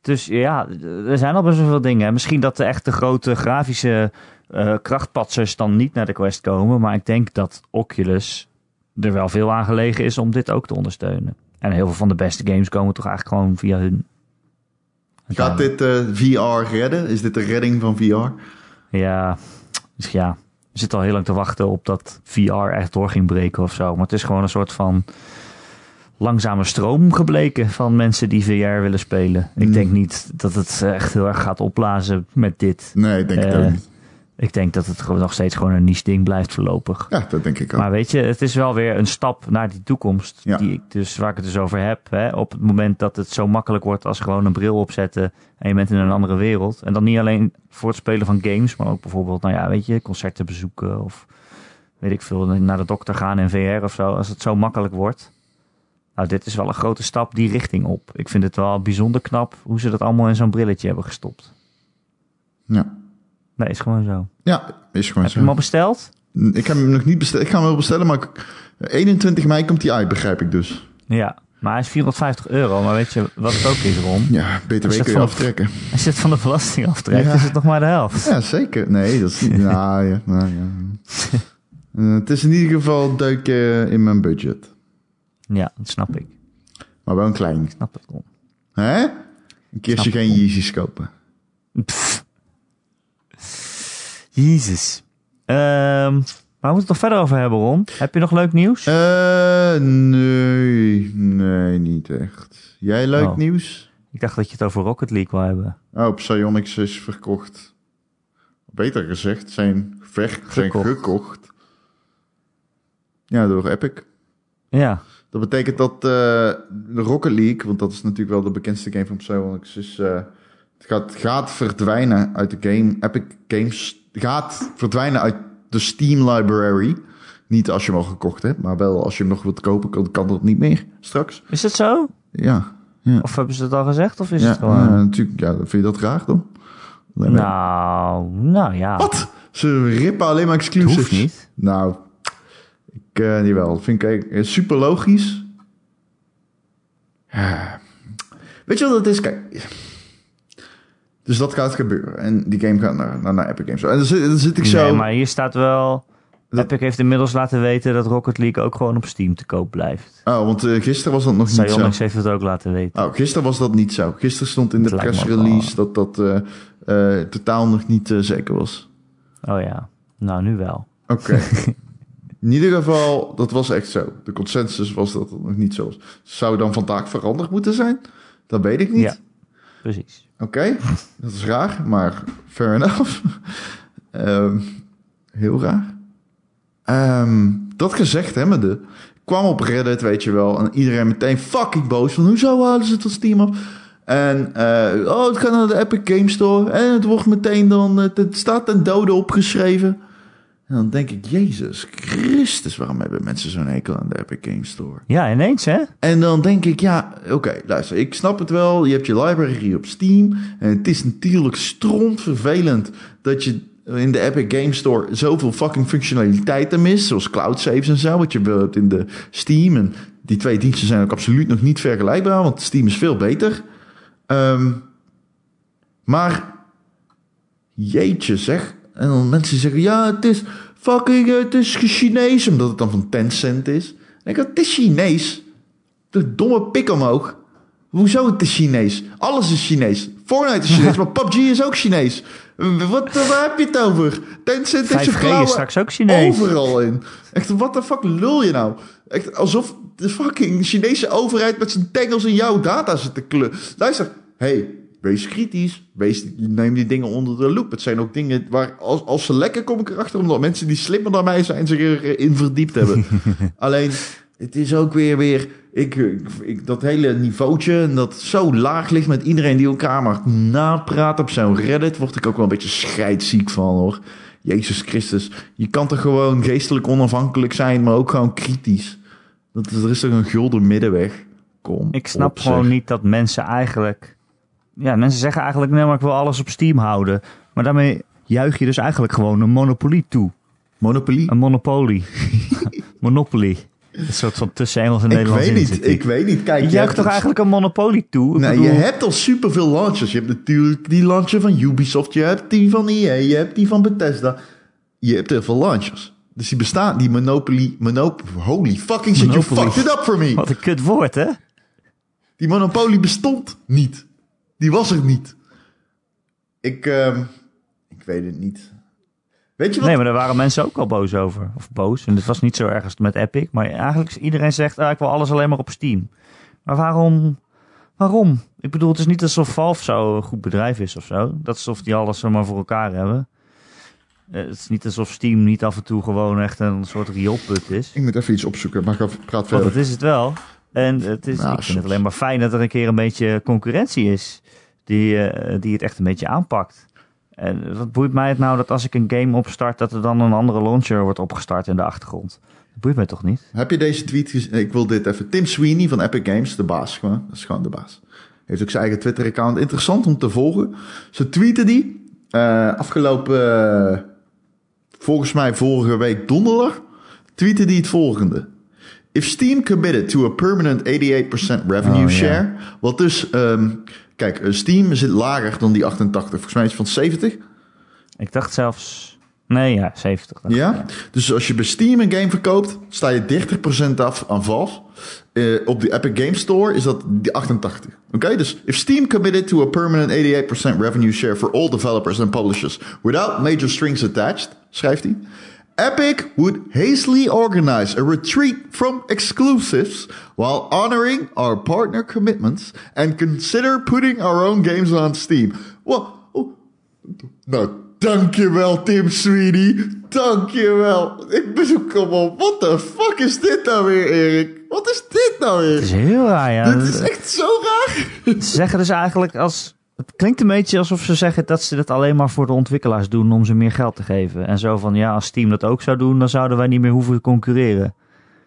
Dus ja, er zijn al best wel veel dingen. Misschien dat de echte grote grafische eh krachtpatsers dan niet naar de Quest komen, maar ik denk dat Oculus er wel veel aan gelegen is om dit ook te ondersteunen. En heel veel van de beste games komen toch eigenlijk gewoon via hun.
Gaat dit eh, VR redden? Is dit de redding van VR?
Ja, dus ja. We zitten al heel lang te wachten op dat VR echt door ging breken of zo. Maar het is gewoon een soort van langzame stroom gebleken van mensen die VR willen spelen. Ik
Mm.
denk niet dat het eh, echt heel erg gaat opblazen met dit.
Nee, ik denk het
Eh,
ook niet.
Ik denk dat het gewoon nog steeds gewoon een niche ding blijft voorlopig.
Ja, dat denk ik ook.
Maar weet je, het is wel weer een stap naar die toekomst.
Ja.
Die ik dus, waar ik het dus over heb. Hè? Op het moment dat het zo makkelijk wordt als gewoon een bril opzetten. En je bent in een andere wereld. En dan niet alleen voor het spelen van games. Maar ook bijvoorbeeld, nou ja, weet je, concerten bezoeken. Of weet ik veel, naar de dokter gaan in VR of zo. Als het zo makkelijk wordt. Nou, dit is wel een grote stap die richting op. Ik vind het wel bijzonder knap hoe ze dat allemaal in zo'n brilletje hebben gestopt.
Ja.
Nee, is gewoon zo.
ja, is gewoon
Heb je hem
zo.
al besteld?
Ik heb hem nog niet besteld. Ik ga hem wel bestellen, maar ik- 21 mei komt die uit, begrijp ik dus.
Ja. Maar hij is 450 euro. Maar weet je wat het ook is, Ron?
Ja, BTW
Is dat
kun je
van-
aftrekken.
Als je het van de belasting aftrekt,
Ja.
is het nog maar de helft.
Ja, zeker. Nee, dat is niet... nou, ja, nou, ja. Eh, het is in ieder geval duiken in mijn budget.
Ja, dat snap ik.
Maar wel een klein.
Snap het Ron.
Hè? Een keertje
Snap
geen Yeezys kopen.
Pff. Jezus. Ehm, maar we moeten het nog verder over hebben, Ron. Heb je nog leuk nieuws?
Eh, nee. Nee, niet echt. Jij leuk
Oh.
nieuws?
Ik dacht dat je het over Rocket League wou hebben.
Oh, Psyonix is verkocht. Beter gezegd, zijn, ver, zijn
Gekocht.
gekocht. Ja, door Epic.
Ja.
Dat betekent dat eh, de Rocket League, want dat is natuurlijk wel de bekendste game van Psyonix, is, eh, het gaat, gaat verdwijnen uit de game. Epic Games gaat verdwijnen uit de Steam library. Niet als je hem al gekocht hebt, maar wel als je hem nog wilt kopen, kan, kan dat niet meer straks.
Is het zo?
Ja,
Of hebben ze het al gezegd? Of is
ja,
het gewoon...
ja, natuurlijk. Ja, vind je dat raar dan? Nee, maar-
nou, nou ja.
Wat? Ze rippen alleen maar
Het
exclusives.
hoeft niet.
Nou, ik eh jawel. Dat vind ik eh, super logisch. Ja. Weet je wat het is? Kijk. Dus dat gaat gebeuren. En die game gaat naar, naar, naar Epic Games. En dan zit, dan zit ik zo...
Nee, maar hier staat wel...
Dat-
Epic heeft inmiddels laten weten dat Rocket League ook gewoon op Steam te koop blijft.
Oh, want eh, gisteren was dat nog niet zo.
Psyonix heeft het ook laten weten.
Oh, gisteren was dat niet zo. Gisteren stond in de
Het lijkt me
pressrelease dat dat eh, eh, totaal nog niet eh, zeker was. Ah.
Oh ja. Nou, nu wel.
Oké. In ieder geval, dat was echt zo. De consensus was dat het nog niet zo was. Zou dan vandaag veranderd moeten zijn? Dat weet ik niet.
Ja. Precies.
Oké, dat is raar, maar fair enough. Ehm, heel raar. Ehm, dat gezegd hebbende, kwam op Reddit, weet je wel, en iedereen meteen fucking boos van hoezo halen ze het als team op? En eh, oh, het gaat naar de Epic Game Store en het wordt meteen dan, het, het staat ten dode opgeschreven. En dan denk ik, Jezus Christus, waarom hebben mensen zo'n hekel aan de Epic Game Store?
Ja, ineens hè?
En dan denk ik, ja, oké, luister, ik snap het wel. Je hebt je library hier op Steam. En het is natuurlijk strontvervelend dat je in de Epic Game Store zoveel fucking functionaliteiten mist. Zoals cloud saves en zo, wat je wel hebt in de Steam. En die twee diensten zijn ook absoluut nog niet vergelijkbaar, want Steam is veel beter. Ehm, maar jeetje zeg. En dan mensen die zeggen, ja, het is fucking, eh, het is Chinees, omdat het dan van Tencent is. En ik denk, het is Chinees. De domme pik omhoog. Hoezo het is Chinees? Alles is Chinees. Fortnite is Chinees, maar PUBG is ook Chinees. Eh, Wat, eh, waar heb je het over? Tencent heeft zijn
5G is
klauwen
straks ook Chinees.
overal in. Echt, wat de fuck lul je nou? Echt, alsof de fucking Chinese overheid met zijn tengels in jouw data zit te kleuren. Luister, hey, wees kritisch. Wees, neem die dingen onder de loep. Het zijn ook dingen waar, als, als ze lekker kom ik erachter, omdat mensen die slimmer dan mij zijn zich erin verdiept hebben. Alleen, het is ook weer weer... Ik, ik- ik- dat hele niveautje en dat zo laag ligt met iedereen die elkaar maar napraat op zo'n Reddit, word ik ook wel een beetje scheidziek van hoor. Jezus Christus, je kan toch gewoon geestelijk onafhankelijk zijn, maar ook gewoon kritisch. Dat, is- er is toch een gulden middenweg. Kom.
Ik snap
op,
gewoon
zeg.
niet dat mensen eigenlijk... Ja, mensen zeggen eigenlijk, nee, maar ik wil alles op Steam houden. Maar daarmee juich je dus eigenlijk gewoon een monopolie toe.
Monopoly.
Een monopolie. monopoly. Een soort van tussen Engels en
Ik
Nederlands
weet
in
niet,
zit die.
ik weet niet. Kijk,
Je
hebt
juicht toch
het-
eigenlijk een monopolie toe? Ik
Nee,
bedoel,
je hebt al superveel launchers. Je hebt natuurlijk die launcher van Ubisoft, je hebt die van EA, je hebt die van Bethesda. Je hebt heel veel launchers. Dus die bestaan, die Monopoly, Monopoly, holy fucking shit,
Monopoly.
you fucked it up for me.
Wat een kut woord, hè?
Die Monopoly bestond niet. Die was er niet. Ik, ehm, ik weet het niet. Weet je wat?
Nee, maar daar waren mensen ook al boos over. Of boos. En dit was niet zo erg als met Epic. Maar eigenlijk is iedereen zegt, ah, ik wil alles alleen maar op Steam. Maar waarom? Waarom? Ik bedoel, het is niet alsof Valve zo een goed bedrijf is of zo. Dat is alsof die alles zomaar voor elkaar hebben. Eh, het is niet alsof Steam niet af en toe gewoon echt een soort rioolput is.
Ik moet even iets opzoeken, maar ik praat
Want
verder.
dat is het wel. En het is,
Nou,
ik vind
soms.
het alleen maar fijn dat er een keer een beetje concurrentie is. Die, eh, die het echt een beetje aanpakt. En wat boeit mij het nou dat als ik een game opstart, dat er dan een andere launcher wordt opgestart in de achtergrond? Dat boeit mij toch niet?
Heb je deze tweet gezien? Ik wil dit even. Tim Sweeney van Epic Games, de baas gewoon. Dat is gewoon de baas. Heeft ook zijn eigen Twitter-account. Interessant om te volgen. Ze tweeten die. eh, afgelopen, eh, volgens mij vorige week donderdag, tweeten die het volgende. If Steam committed to a permanent 88% revenue
Oh, ja.
share, wat dus, ehm, kijk, eh, Steam zit lager dan die 88, volgens mij is het van 70.
Ik dacht zelfs. Nee, ja, 70. dacht ik,
Ja, dus als je bij Steam een game verkoopt, sta je 30% af aan Valve. Eh, op de Epic Game Store is dat die 88. Oké, dus if Steam committed to a permanent 88% revenue share for all developers and publishers without major strings attached, schrijft hij. Epic would hastily organize a retreat from exclusives while honoring our partner commitments and consider putting our own games on Steam. Wow, nou, dankjewel Tim Sweeney. Dankjewel. Ik bezoek hem op. What the fuck is dit nou weer, Erik? Wat is dit nou weer?
Het is heel raar, ja.
Dit is echt zo raar.
Ze zeggen dus eigenlijk als. Het klinkt een beetje alsof ze zeggen dat ze dat alleen maar voor de ontwikkelaars doen om ze meer geld te geven. En zo van ja, als Steam dat ook zou doen, dan zouden wij niet meer hoeven concurreren.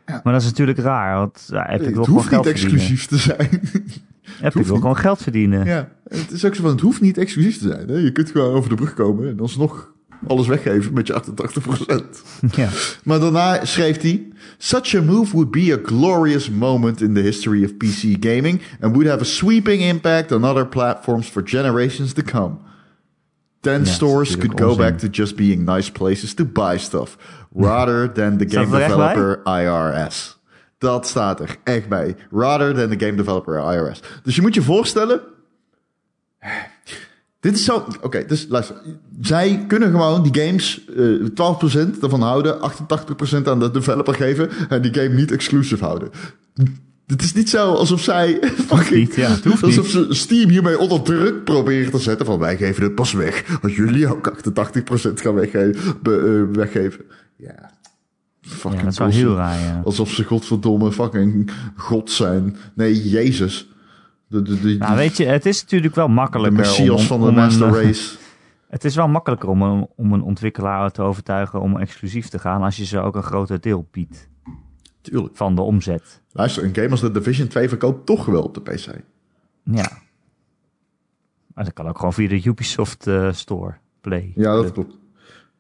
Maar dat is natuurlijk raar, want ja, Epic wil
het
gewoon
hoeft niet
geld verdienen.
exclusief te zijn.
Epic wil gewoon geld verdienen.
ja, het is ook zo van, het hoeft niet exclusief te zijn. Hè? Je kunt gewoon over de brug komen en alsnog alles weggeven met je 88%.
Ja.
Maar daarna schreef hij: Such a move would be a glorious moment in the history of PC gaming and would have a sweeping impact on other platforms for generations to come. Then
is
stores
natuurlijk
could go
onzin.
back to just being nice places to buy stuff rather than the
Staat
game
er echt
developer IRS. Dat staat er echt bij. Rather than the game developer IRS. Dus je moet je voorstellen, dit is zo. Oké, dus luister. Zij kunnen gewoon die games eh 12% ervan houden, 88% aan de developer geven en die game niet exclusive houden. Dit is niet zo alsof zij
niet, ja, het hoeft
alsof
niet.
ze Steam hiermee onder druk proberen te zetten van wij geven het pas weg als jullie ook 88% gaan weggeven. Be, eh, weggeven. Ja, fucking
Ja, dat is wel heel raar, ja.
Alsof ze godverdomme fucking god zijn. Nee, Jezus. De, de, de,
Nou, weet je, het is natuurlijk wel
de
makkelijker. om-
messias van de
om een,
master
eh,
race.
Het is wel makkelijker om een, om een ontwikkelaar te overtuigen om exclusief te gaan als je ze ook een groter deel biedt
Tuurlijk.
van de omzet.
Luister, een game als The Division 2 verkoopt toch wel op de PC.
Ja. Maar dat kan ook gewoon via de Ubisoft eh, Store. Play.
Ja, dat
Club.
klopt. Dat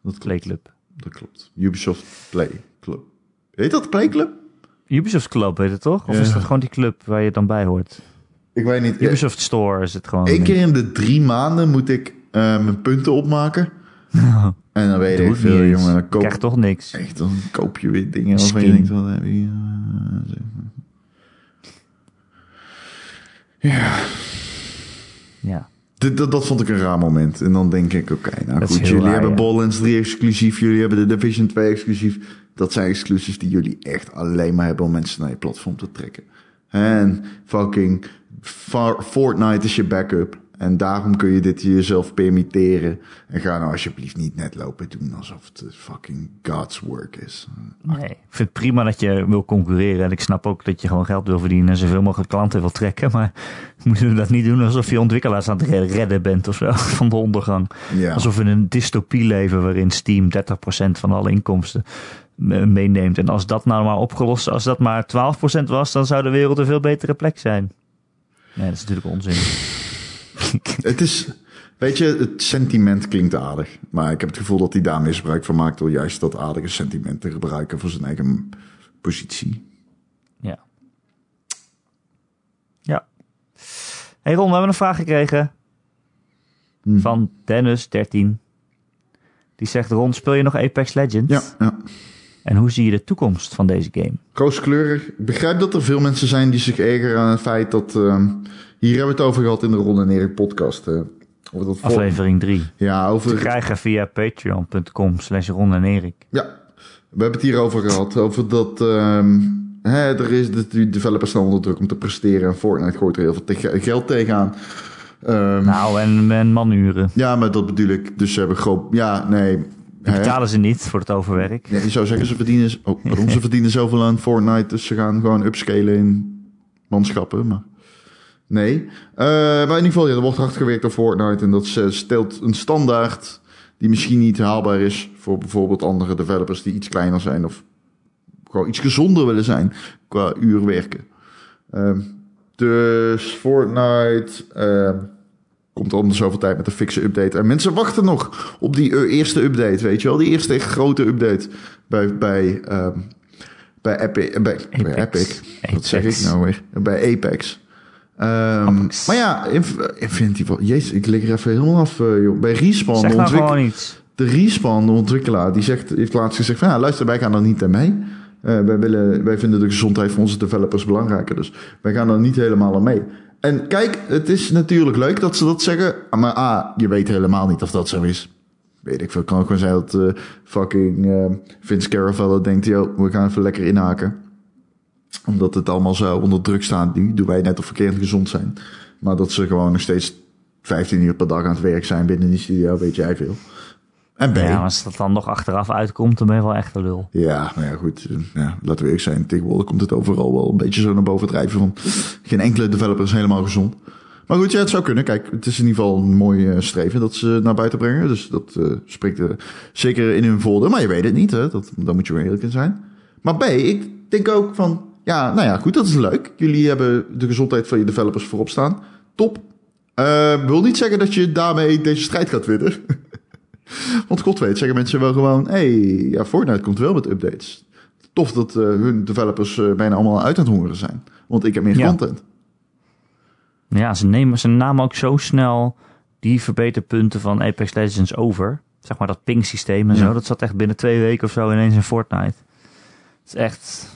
klopt.
Play Club.
Dat klopt. Ubisoft Play Club. Heet dat Play Club?
Ubisoft Club heet het toch? Of
Ja.
is dat gewoon die club waar je dan bij hoort?
Ik weet niet. Eén
Ubisoft Store is het gewoon.
keer in de drie maanden moet ik eh, mijn punten opmaken. en dan weet
Doe
ik
het niet
veel,
eens.
jongen. Dan koop,
Krijg toch niks.
echt, dan koop je weer dingen waarvan je
Skin.
denkt, wat heb je... eh, zeg maar.
Ja.
Dit- dat, dat vond ik een raar moment. En dan denk ik, oké, nou
Dat is
goed,
heel
jullie
raar,
hebben
ja.
Borderlands 3 exclusief, jullie hebben de Division 2 exclusief. Dat zijn exclusives die jullie echt alleen maar hebben om mensen naar je platform te trekken. En fucking Far- Fortnite is je backup. En daarom kun je dit jezelf permitteren. En ga nou alsjeblieft niet net lopen doen alsof het eh, fucking God's work is.
Nee. Ik vind het prima dat je wil concurreren. En ik snap ook dat je gewoon geld wil verdienen en zoveel mogelijk klanten wil trekken. Maar moeten we dat niet doen alsof je ontwikkelaars aan het re- redden bent of zo van de ondergang.
Ja.
Alsof we in een dystopie leven waarin Steam 30% van alle inkomsten eh, meeneemt. En als dat nou maar opgelost, als dat maar 12% was, dan zou de wereld een veel betere plek zijn. Nee, dat is natuurlijk onzin.
Het is, weet je, het sentiment klinkt aardig. Maar ik heb het gevoel dat hij daar misbruik van maakt door juist dat aardige sentiment te gebruiken voor zijn eigen positie.
Ja. Ja. hey Ron, we hebben een vraag gekregen
Hm.
van Dennis13. Die zegt, Ron, speel je nog Apex Legends?
Ja, ja.
En hoe zie je de toekomst van deze game?
Rooskleurig. Ik begrijp dat er veel mensen zijn die zich ergeren aan het feit dat. ehm, hier hebben we het over gehad in de Ron en Erik podcast. eh, over dat vol-
Aflevering 3.
Ja,
Te
over.
krijgen via patreon.com slash Ron en Erik.
Ja, we hebben het hierover gehad. Over dat. ehm, hè, er is de, de developers staan onder druk om te presteren. En Fortnite gooit er heel veel te- geld tegenaan. Ehm,
Nou, en, en manuren.
Ja, maar dat bedoel ik. Dus ze hebben groot. Ja, nee.
Die
Hè?
betalen ze niet voor het overwerk.
Nee, je zou zeggen, ze verdienen, oh, pardon, ze verdienen zoveel aan Fortnite, dus ze gaan gewoon upscalen in manschappen. Maar nee. Eh, maar in ieder geval, ja, er wordt hard gewerkt aan Fortnite en dat ze- stelt een standaard die misschien niet haalbaar is voor bijvoorbeeld andere developers die iets kleiner zijn of gewoon iets gezonder willen zijn qua uur werken. Ehm, dus Fortnite ehm, komt om de zoveel tijd met een fixe update. En mensen wachten nog op die eh, eerste update, weet je wel? Die eerste echt grote update bij, bij, ehm, bij, Epi- eh, bij, bij
Apex.
Epic. Wat
Apex.
zeg ik nou weer? Bij Apex. Ehm,
Apex.
Maar ja, Inf- Infinity Ward. Jezus, ik lig er even helemaal af, eh, joh. Bij Respawn, de
Zeg nou
ontwik-
gewoon iets.
de Respawn, de ontwikkelaar, die zegt, heeft laatst gezegd van... Ja, luister, wij gaan er niet aan mee. Eh, wij, willen, wij vinden de gezondheid van onze developers belangrijker. Dus wij gaan er niet helemaal aan mee. En kijk, het is natuurlijk leuk dat ze dat zeggen. Maar A, je weet helemaal niet of dat zo is. Weet ik veel. Kan ook gewoon zijn dat eh, fucking eh, Vince Caravello denkt... Yo, we gaan even lekker inhaken. Omdat het allemaal zo onder druk staat nu. Doen wij net of verkeerd gezond zijn. Maar dat ze gewoon nog steeds 15 uur per dag aan het werk zijn binnen die studio. Weet jij veel. En B,
Ja, maar als dat dan nog achteraf uitkomt, dan ben je wel echt een lul.
ja, maar ja, goed. eh, Ja, laten we eerlijk zijn. Tegenwoordig komt het overal wel een beetje zo naar boven drijven. Van geen enkele developer is helemaal gezond. Maar goed, ja, het zou kunnen. Kijk, het is in ieder geval een mooi eh, streven dat ze naar buiten brengen. Dus dat eh, spreekt eh, zeker in hun voordeel. Maar je weet het niet, hè. Dat, daar moet je wel eerlijk in zijn. Maar B, ik denk ook van... Ja, nou ja, goed, dat is leuk. Jullie hebben de gezondheid van je developers voorop staan. Top. Eh, wil niet zeggen dat je daarmee deze strijd gaat winnen. Want god weet, zeggen mensen wel gewoon... hey, ja, Fortnite komt wel met updates. Tof dat eh, hun developers eh, bijna allemaal uit aan het hongeren zijn. Want ik heb meer
Ja.
content.
Ja, ze, nemen, ze namen ook zo snel die verbeterpunten van Apex Legends over. Zeg maar dat ping systeem en
Ja.
zo. Dat zat echt binnen twee weken of zo ineens in Fortnite. Het is echt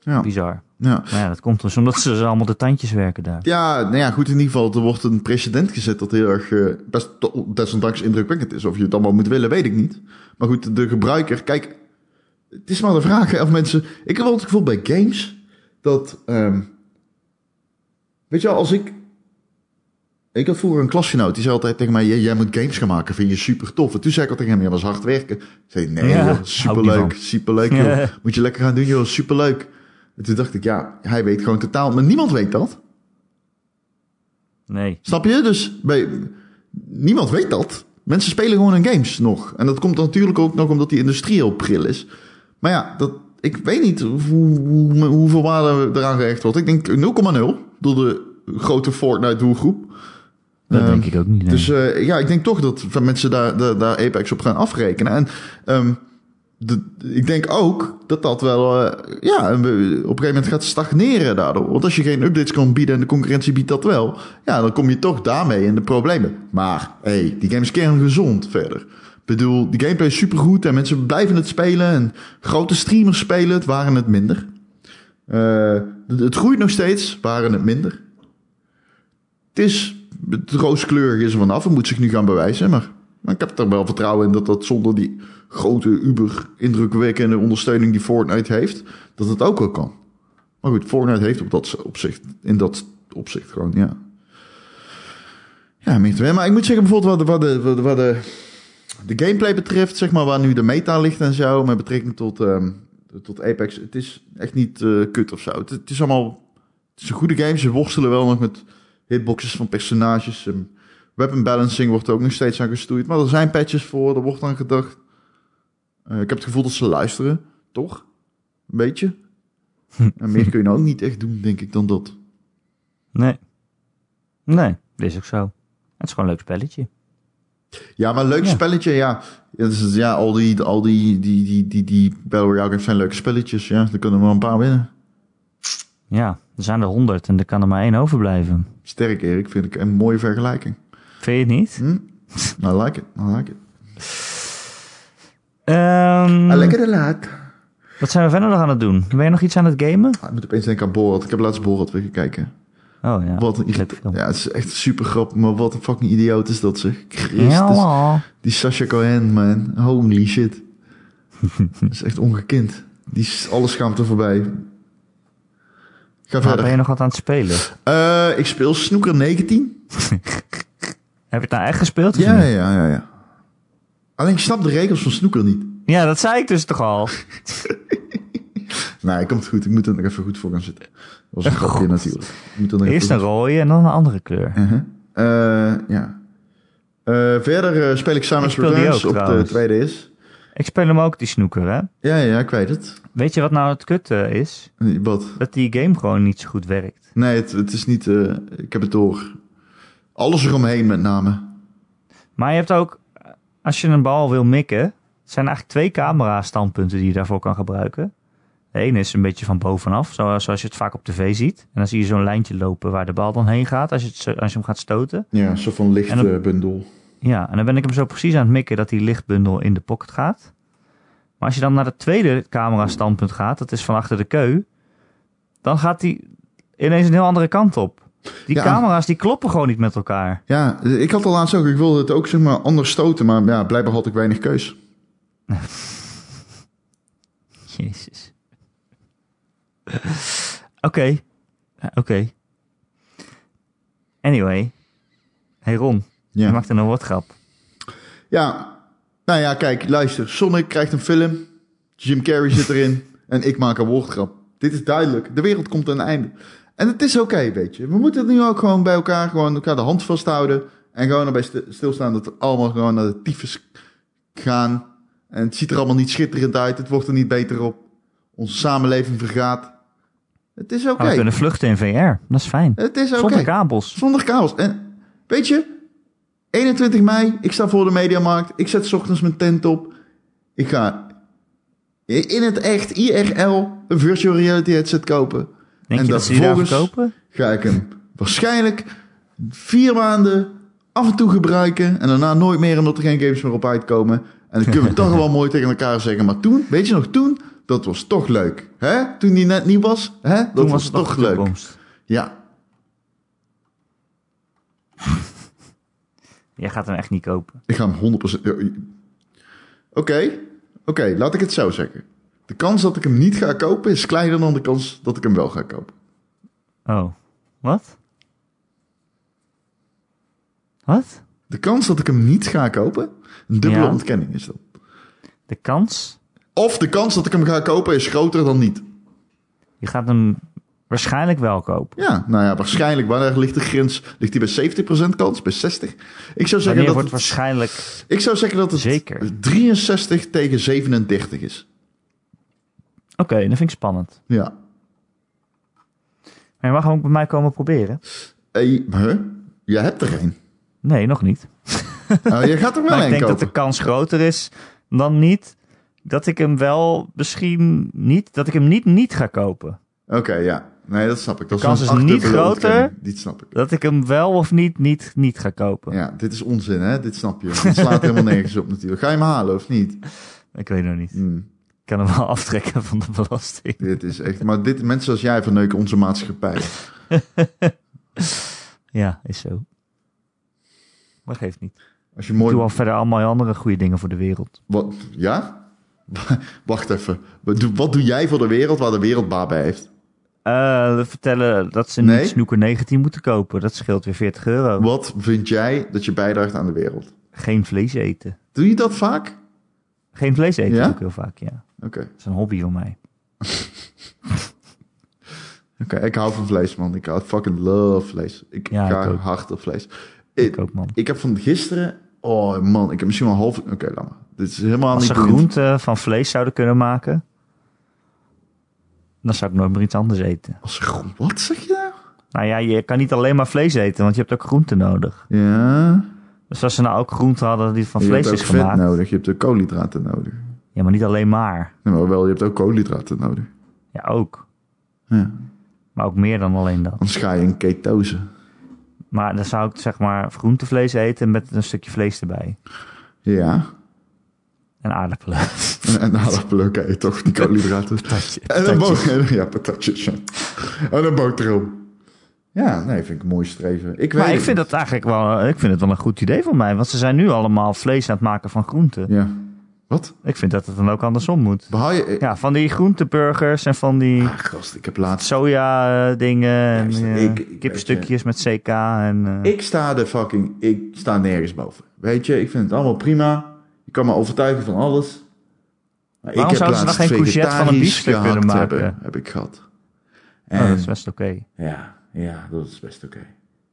Ja,
bizar.
ja.
Maar ja, dat komt dus omdat ze ze allemaal de tandjes werken daar.
ja, nou ja, goed, in ieder geval, er wordt een precedent gezet dat heel erg eh, best to- desondanks indrukwekkend is. Of je het allemaal moet willen, weet ik niet. Maar goed, de gebruiker, kijk, het is maar de vraag hè, of mensen... Ik heb wel het gevoel bij games dat ehm, Weet je wel, als ik... Ik had vroeger een klasgenoot, die zei altijd tegen mij... "Jij- Jij moet games gaan maken, vind je super tof. En toen zei ik al tegen hem, ja, dat is hard werken. Ik zei, nee
Ja,
joh,
hou ik niet
superleuk,
van.
superleuk joh. Moet je lekker gaan doen joh, superleuk. En toen dacht ik, ja, hij weet gewoon totaal... Maar niemand weet dat.
Nee.
Snap je? Dus bij, niemand weet dat. Mensen spelen gewoon hun games nog. En dat komt natuurlijk ook nog omdat die industrie heel pril is. Maar ja, dat, ik weet niet hoe, hoe, hoeveel waarde eraan gehecht wordt. Ik denk 0,0 door de grote Fortnite-doelgroep.
Dat
Ehm,
denk ik ook niet. nee.
Dus eh, ja, ik denk toch dat van mensen daar, daar, daar Apex op gaan afrekenen. En ehm, de, ik denk ook dat dat wel eh, ja, een- op een gegeven moment gaat stagneren daardoor. Want als je geen updates kan bieden en de concurrentie biedt dat wel, ja, dan kom je toch daarmee in de problemen. Maar hey, die game is kerngezond verder. Ik bedoel, die gameplay is supergoed en mensen blijven het spelen. En grote streamers spelen het, waren het minder. Eh, het- het groeit nog steeds, waren het minder het is het rooskleurig is er vanaf en moet zich nu gaan bewijzen. Maar, maar ik heb er wel vertrouwen in dat dat zonder die grote, uber indrukwekkende ondersteuning die Fortnite heeft, dat het ook wel kan. Maar goed, Fortnite heeft op dat opzicht, in dat opzicht gewoon, ja. Ja, meer te weten. maar ik moet zeggen bijvoorbeeld wat de, wat de, wat de, wat de, de gameplay betreft, zeg maar, waar nu de meta ligt en zo, met betrekking tot, ehm, tot Apex, het is echt niet eh, kut of zo. Het, het is allemaal, het is een goede game, ze worstelen wel nog met hitboxes van personages. ehm, weapon balancing wordt er ook nog steeds aan gestoeid. Maar er zijn patches voor, er wordt aan gedacht. Eh, ik heb het gevoel dat ze luisteren, toch? Een beetje. en meer kun je nou ook niet echt doen, denk ik, dan dat.
Nee. Nee, dat is ook zo. Het is gewoon een leuk spelletje.
Ja, maar leuk
Ja.
spelletje, ja. Ja, dus, ja, al die, al die, die, die, die, die Battle Royale games zijn leuke spelletjes. Ja, er kunnen we wel een paar winnen.
Ja, er zijn er honderd en er kan er maar één overblijven.
Sterk, Erik, vind ik een mooie vergelijking.
Vind je het niet?
Hm? I like it, I like it.
Ehm,
I like it a lot.
Wat zijn we verder nog aan het doen? Ben je nog iets aan het gamen?
Ah, ik moet opeens denken aan Borat. Ik heb laatst Borat weer gekeken.
Oh ja.
Wat een
Leuk
irrit-
film.
Ja, het is echt super grappig, maar wat een fucking idioot is dat zeg. Christus.
Ja, wel.
Die Sasha Cohen, man. Holy shit. dat is echt ongekend. Die is alles schaamte voorbij. Ga
Maar
verder.
Nou, ben je nog wat aan het spelen?
Eh, ik speel Snoeker 19.
Heb je het nou echt gespeeld? of
Ja,
niet?
ja, ja, ja. Alleen ik snap de regels van Snoeker niet.
ja, dat zei ik dus toch al.
Nee, Nou, komt goed. Ik moet er nog even goed voor gaan zitten. Dat was een grapje natuurlijk. Ik moet er nog
Eerst
even
een
goed-
rode en dan een andere kleur.
Uh-huh. Eh, ja. Eh, verder eh, speel ik Samus
Ik speel die
Returns
ook,
op de
trouwens.
tweede is.
Ik speel hem ook, die snoeker, hè?
Ja, ja, ik weet het.
Weet je wat nou het kut eh, is?
Wat?
Dat die game gewoon niet zo goed werkt.
Nee, het, het is niet... eh, ik heb het door. Alles eromheen met name.
Maar je hebt ook, eh, als je een bal wil mikken, zijn eigenlijk twee camera-standpunten die je daarvoor kan gebruiken. De ene is een beetje van bovenaf, zo- zoals je het vaak op tv ziet. En dan zie je zo'n lijntje lopen waar de bal dan heen gaat als je, het, zo- als je hem gaat stoten.
Ja, zo van eh,
En dan-
lichtbundel.
Ja, en dan ben ik hem zo precies aan het mikken dat die lichtbundel in de pocket gaat. Maar als je dan naar het tweede camera-standpunt gaat, dat is van achter de keu, dan gaat die ineens een heel andere kant op. Die
Ja.
camera's die kloppen gewoon niet met elkaar.
ja, ik had al laatst ook... Ik wilde het ook zeg maar anders stoten, maar ja, blijkbaar had ik weinig keus.
Jezus. Oké. Ja, Oké. Anyway. Hey Ron, je
Ja.
maakt er een woordgrap.
ja, nou ja, kijk, luister. Sonic krijgt een film. Jim Carrey zit erin. en ik maak een woordgrap. Dit is duidelijk. De wereld komt aan een einde. En het is oké, weet je. We moeten het nu ook gewoon bij elkaar, gewoon elkaar de hand vasthouden. En gewoon erbij st- stilstaan dat we allemaal gewoon naar de tyfus gaan. En het ziet er allemaal niet schitterend uit. Het wordt er niet beter op. Onze samenleving vergaat. Het is oké.
Maar Ah, We kunnen vluchten in VR. Dat is fijn.
Het is oké.
Zonder kabels.
Zonder kabels. En weet je, 21 mei, ik sta voor de Mediamarkt. Ik zet 's ochtends mijn tent op. Ik ga in het echt IRL een virtual reality headset kopen.
Denk
en
je dat ze die daar
vervolgens
verkopen?
ga ik hem waarschijnlijk vier maanden af en toe gebruiken. En daarna nooit meer, omdat er geen games meer op uitkomen. En dan kunnen we toch wel mooi tegen elkaar zeggen. Maar toen, weet je nog, toen, dat was toch leuk. hè? Toen die net niet was, hè? dat
Toen
was,
was het
toch
de
leuk.
toekomst.
Ja,
Jij gaat hem echt niet kopen.
Ik ga hem 100%. Oké, oké, laat ik het zo zeggen. De kans dat ik hem niet ga kopen is kleiner dan de kans dat ik hem wel ga kopen.
Oh, wat? Wat?
De kans dat ik hem niet ga kopen, een dubbele
Ja.
ontkenning is dat.
De kans?
Of de kans dat ik hem ga kopen is groter dan niet.
Je gaat hem waarschijnlijk wel kopen.
Ja, nou ja, waarschijnlijk. Waar ligt de grens? Ligt die bij 70% kans? Bij 60? Ik zou zeggen,
Wanneer
dat
wordt
het,
waarschijnlijk...
ik zou zeggen dat het
Zeker.
63 tegen 37 is.
Oké, dat vind ik spannend.
Ja.
Maar je mag hem ook bij mij komen proberen.
Hey, huh? Je hebt er geen.
Nee, nog niet.
Nou, je gaat er wel
Maar ik
een
denk dat
kopen.
de kans groter is dan niet dat ik hem wel misschien niet... Dat ik hem niet niet ga kopen.
Oké, ja. Nee, dat snap ik. Dat
kans
een
is niet
achtdubbele
groter.
ontkenning. Dit snap ik.
Dat ik hem wel of niet niet niet ga kopen.
Ja, dit is onzin, hè? Dit snap je. Het slaat helemaal nergens op natuurlijk. Ga je hem halen of niet?
Ik weet nog niet.
Hm,
Ik kan hem wel aftrekken van de belasting.
dit is echt... Maar dit, mensen als jij verneuken onze maatschappij.
Ja, is zo. Maar geeft niet.
Als je
Ik
mooi...
doe al verder allemaal andere goede dingen voor de wereld.
Wat, ja? Wacht even. Wat doe, wat doe jij voor de wereld waar de wereld baat bij heeft?
Eh, we vertellen dat ze
Nee.
niet snoeker 19 moeten kopen. Dat scheelt weer 40 euro.
Wat vind jij dat je bijdraagt aan de wereld?
Geen vlees eten.
Doe je dat vaak?
Geen vlees eten
Ja?
doe ik heel vaak, ja.
Oké.
Dat is een hobby van mij.
Oké, ik hou van vlees, man. Ik hou fucking love vlees. Ik
Ja,
ga
ik ook.
hard op vlees.
Ik ook, man.
Ik heb van gisteren... Oh, man. Ik heb misschien wel half... Oké, laat maar. Dit is helemaal
Als ze
niet boeiend.
groenten van vlees zouden kunnen maken... dan zou ik nooit meer iets anders eten.
Als groen... Wat zeg je nou?
Nou ja, je kan niet alleen maar vlees eten... want je hebt ook groenten nodig.
Ja...
Dus als ze nou ook groenten hadden die van
je
vlees
hebt ook
is
vet
gemaakt...
nodig, je hebt ook koolhydraten nodig.
Ja, maar niet alleen maar.
Nee, maar wel, je hebt ook koolhydraten nodig.
Ja, ook.
Ja.
Maar ook meer dan alleen dat.
Anders ga je in ketose.
Maar dan zou ik zeg maar groentevlees eten met een stukje vlees erbij.
Ja.
En aardappelen.
En een aardappel, oké, toch, die koolhydraten. en een boter. Ja, patatjes. ja. En een boterham. Ja, nee, vind ik een mooi streven. Ik weet
Maar ik
het
vind dat eigenlijk wel, ik vind het wel een goed idee van mij. Want ze zijn nu allemaal vlees aan het maken van groenten.
niet. Ja. Wat?
Ik vind dat het dan ook andersom moet.
Behaal je... Ja.
Ja, van die groenteburgers en van die
gast, ik heb laatst...
soja eh, dingen. En,
Luister,
eh,
ik- ik weet,
kipstukjes met CK. En, eh,
Ik sta de fucking... Ik sta nergens boven. Weet je, ik vind het allemaal prima. Je kan me overtuigen van alles. Maar
Waarom zouden ze
laatst
dan geen courgette van een
vegetarisch
biefstuk kunnen
gehakt
maken?
Hebben, heb ik gehad.
oh,
En-
dat is best oké.
Ja, ja, dat is best oké.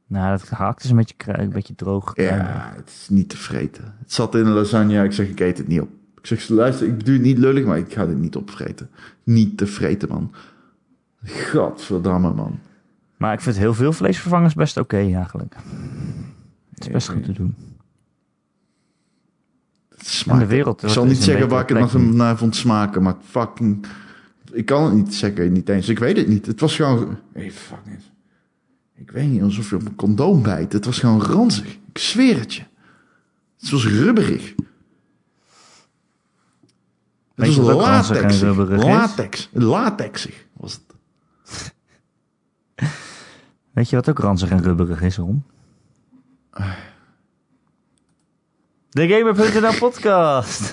Nou, dat gehakt is een beetje, kru- een beetje droog.
Ja, het is niet te vreten. Het zat in een lasagne. Ik zeg, ik eet het niet op. Ik zeg, luister, ik bedoel het niet lullig, maar ik ga dit niet opvreten. Niet te vreten, man. Godverdamme, man.
Maar ik vind heel veel vleesvervangers best oké eigenlijk. Het is best goed te doen.
Het
En
smaakt.
de wereld.
ik zal
is
niet
een
zeggen
betere
waar ik het
plek
nog naar vond smaken, maar fucking... Ik kan het niet zeggen, niet eens. Ik weet het niet. Het was gewoon... Hey, fuck it. Ik weet niet alsof je op een condoom bijt. Het was gewoon ranzig. Ik zweer het je. Het was rubberig. Het
Weet
was
je wat ook ranzig en
latexig.
rubberig is?
Latex. Latexig was het.
Weet je wat ook ranzig en rubberig is, Ron? De Gamer.nl podcast.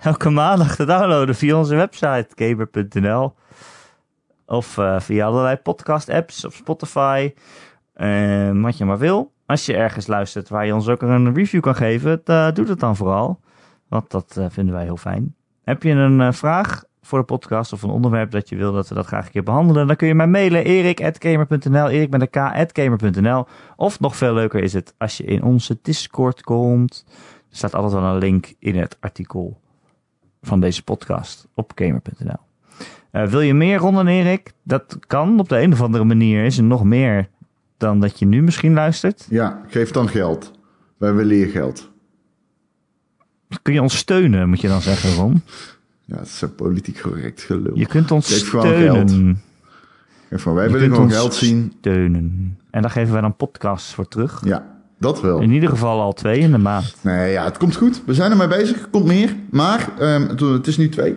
Elke maandag te downloaden via onze website gamer.nl. Of eh, via allerlei podcast apps op Spotify. Eh, wat je maar wil. Als je ergens luistert waar je ons ook een review kan geven, eh, doe dat dan vooral. Want dat eh, vinden wij heel fijn. Heb je een eh, vraag voor de podcast of een onderwerp dat je wil dat we dat graag een keer behandelen? Dan kun je mij mailen erik.gamer.nl, erik met een k.gamer.nl. Of nog veel leuker is het als je in onze Discord komt. Er staat altijd wel een link in het artikel van deze podcast op gamer.nl. Eh, wil je meer Ron en Erik? Dat kan op de een of andere manier. Is er nog meer dan dat je nu misschien luistert?
Ja, geef dan geld. Wij willen je geld.
Kun je ons steunen, moet je dan zeggen, Ron?
Ja, het is zo politiek correct gelul.
Je kunt ons
Geef gewoon geld.
steunen.
Geef maar, wij
Je
willen
kunt
gewoon
ons
geld zien.
steunen. En daar geven wij dan podcasts voor terug.
Ja, dat wel.
In ieder geval al twee in de maand.
Nee, ja, het komt goed. We zijn ermee bezig. Er komt meer. Maar ehm, het- het is nu twee.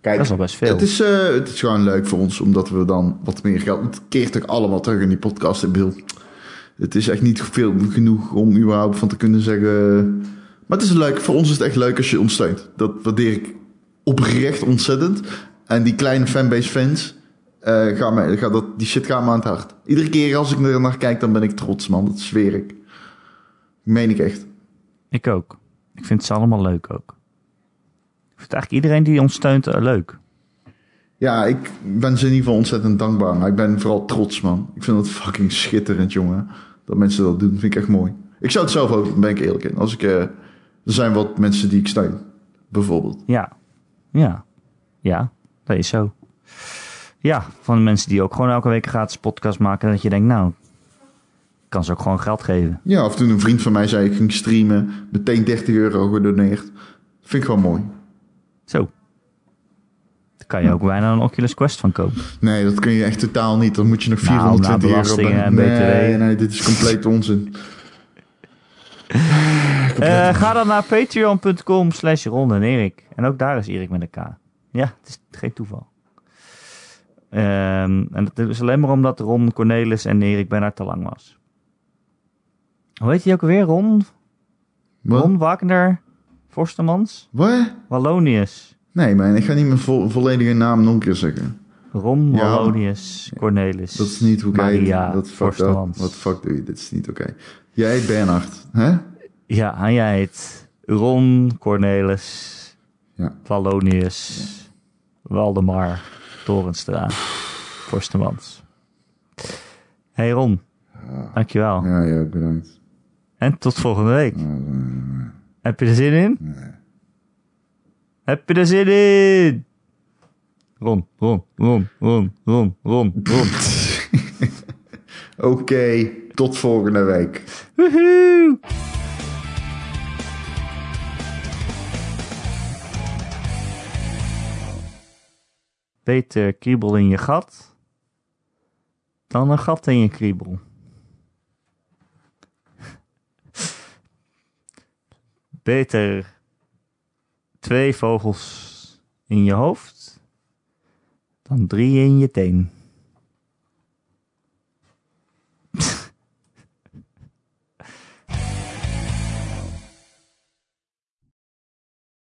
Kijk,
Dat is al best veel.
Het is, eh, het is gewoon leuk voor ons, omdat we dan wat meer geld... Het keert ook allemaal terug in die podcast. Ik bedoel, het is echt niet veel genoeg om überhaupt van te kunnen zeggen... Maar het is leuk. Voor ons is het echt leuk als je ons steunt. Dat waardeer ik oprecht ontzettend. En die kleine fanbase fans... eh gaan me, gaan dat, die shit gaat me aan het hart. Iedere keer als ik er naar kijk, dan ben ik trots, man. Dat zweer ik. Meen ik echt.
Ik ook. Ik vind ze allemaal leuk ook. Ik vind eigenlijk iedereen die ons steunt eh, leuk.
Ja, ik ben ze in ieder geval ontzettend dankbaar. Maar ik ben vooral trots, man. Ik vind het fucking schitterend, jongen. Dat mensen dat doen, vind ik echt mooi. Ik zou het zelf ook, doen, ben ik eerlijk in. Als ik, eh, er zijn wat mensen die ik steun, bijvoorbeeld.
Ja. Ja. Ja. Dat is zo. Ja, van de mensen die ook gewoon elke week een gratis podcast maken. En dat je denkt, nou, ik kan ze ook gewoon geld geven.
Ja, of toen een vriend van mij zei ik ging streamen, meteen 30 euro gedoneerd. Vind ik wel mooi.
Zo. Daar kan je ook bijna een Oculus Quest van kopen.
Nee, dat kun je echt totaal niet. Dan moet je nog
Nou, na
420 euro
belastingen en
Nee,
BTW.
nee, dit is compleet onzin.
Eh, ga dan naar patreon.com slash Ron en Erik. En ook daar is Erik met een K. Ja, het is geen toeval. Ehm, en dat is alleen maar omdat Ron Cornelis en Erik bijna te lang was. Hoe heet hij ook weer? Ron?
Wat?
Ron Wagner? Forstemans?
Wat?
Wallonius.
Nee, man, ik ga niet mijn vo- volledige naam nog een keer zeggen.
Ron
Ja.
Wallonius Cornelis.
Dat is niet hoe ik
Maria
heet. Dat fuck up.
Forstemans.
Wat fuck doe je? Dit is niet oké. Jij heet Bernhard, hè?
Ja, en jij heet Ron Cornelis
Ja.
Wallonius, Waldemar, Torenstra, Forstemans. Hey Ron, dankjewel.
Ja, ja, bedankt.
En tot volgende week.
eh,
Heb je er zin in? Heb je er zin in? Ron, Ron, Ron, Ron, Ron, Ron, Ron.
Oké, tot volgende week.
Woehoe! Beter eh, kriebel in je gat dan een gat in je kriebel. Beter twee vogels in je hoofd dan drie in je teen.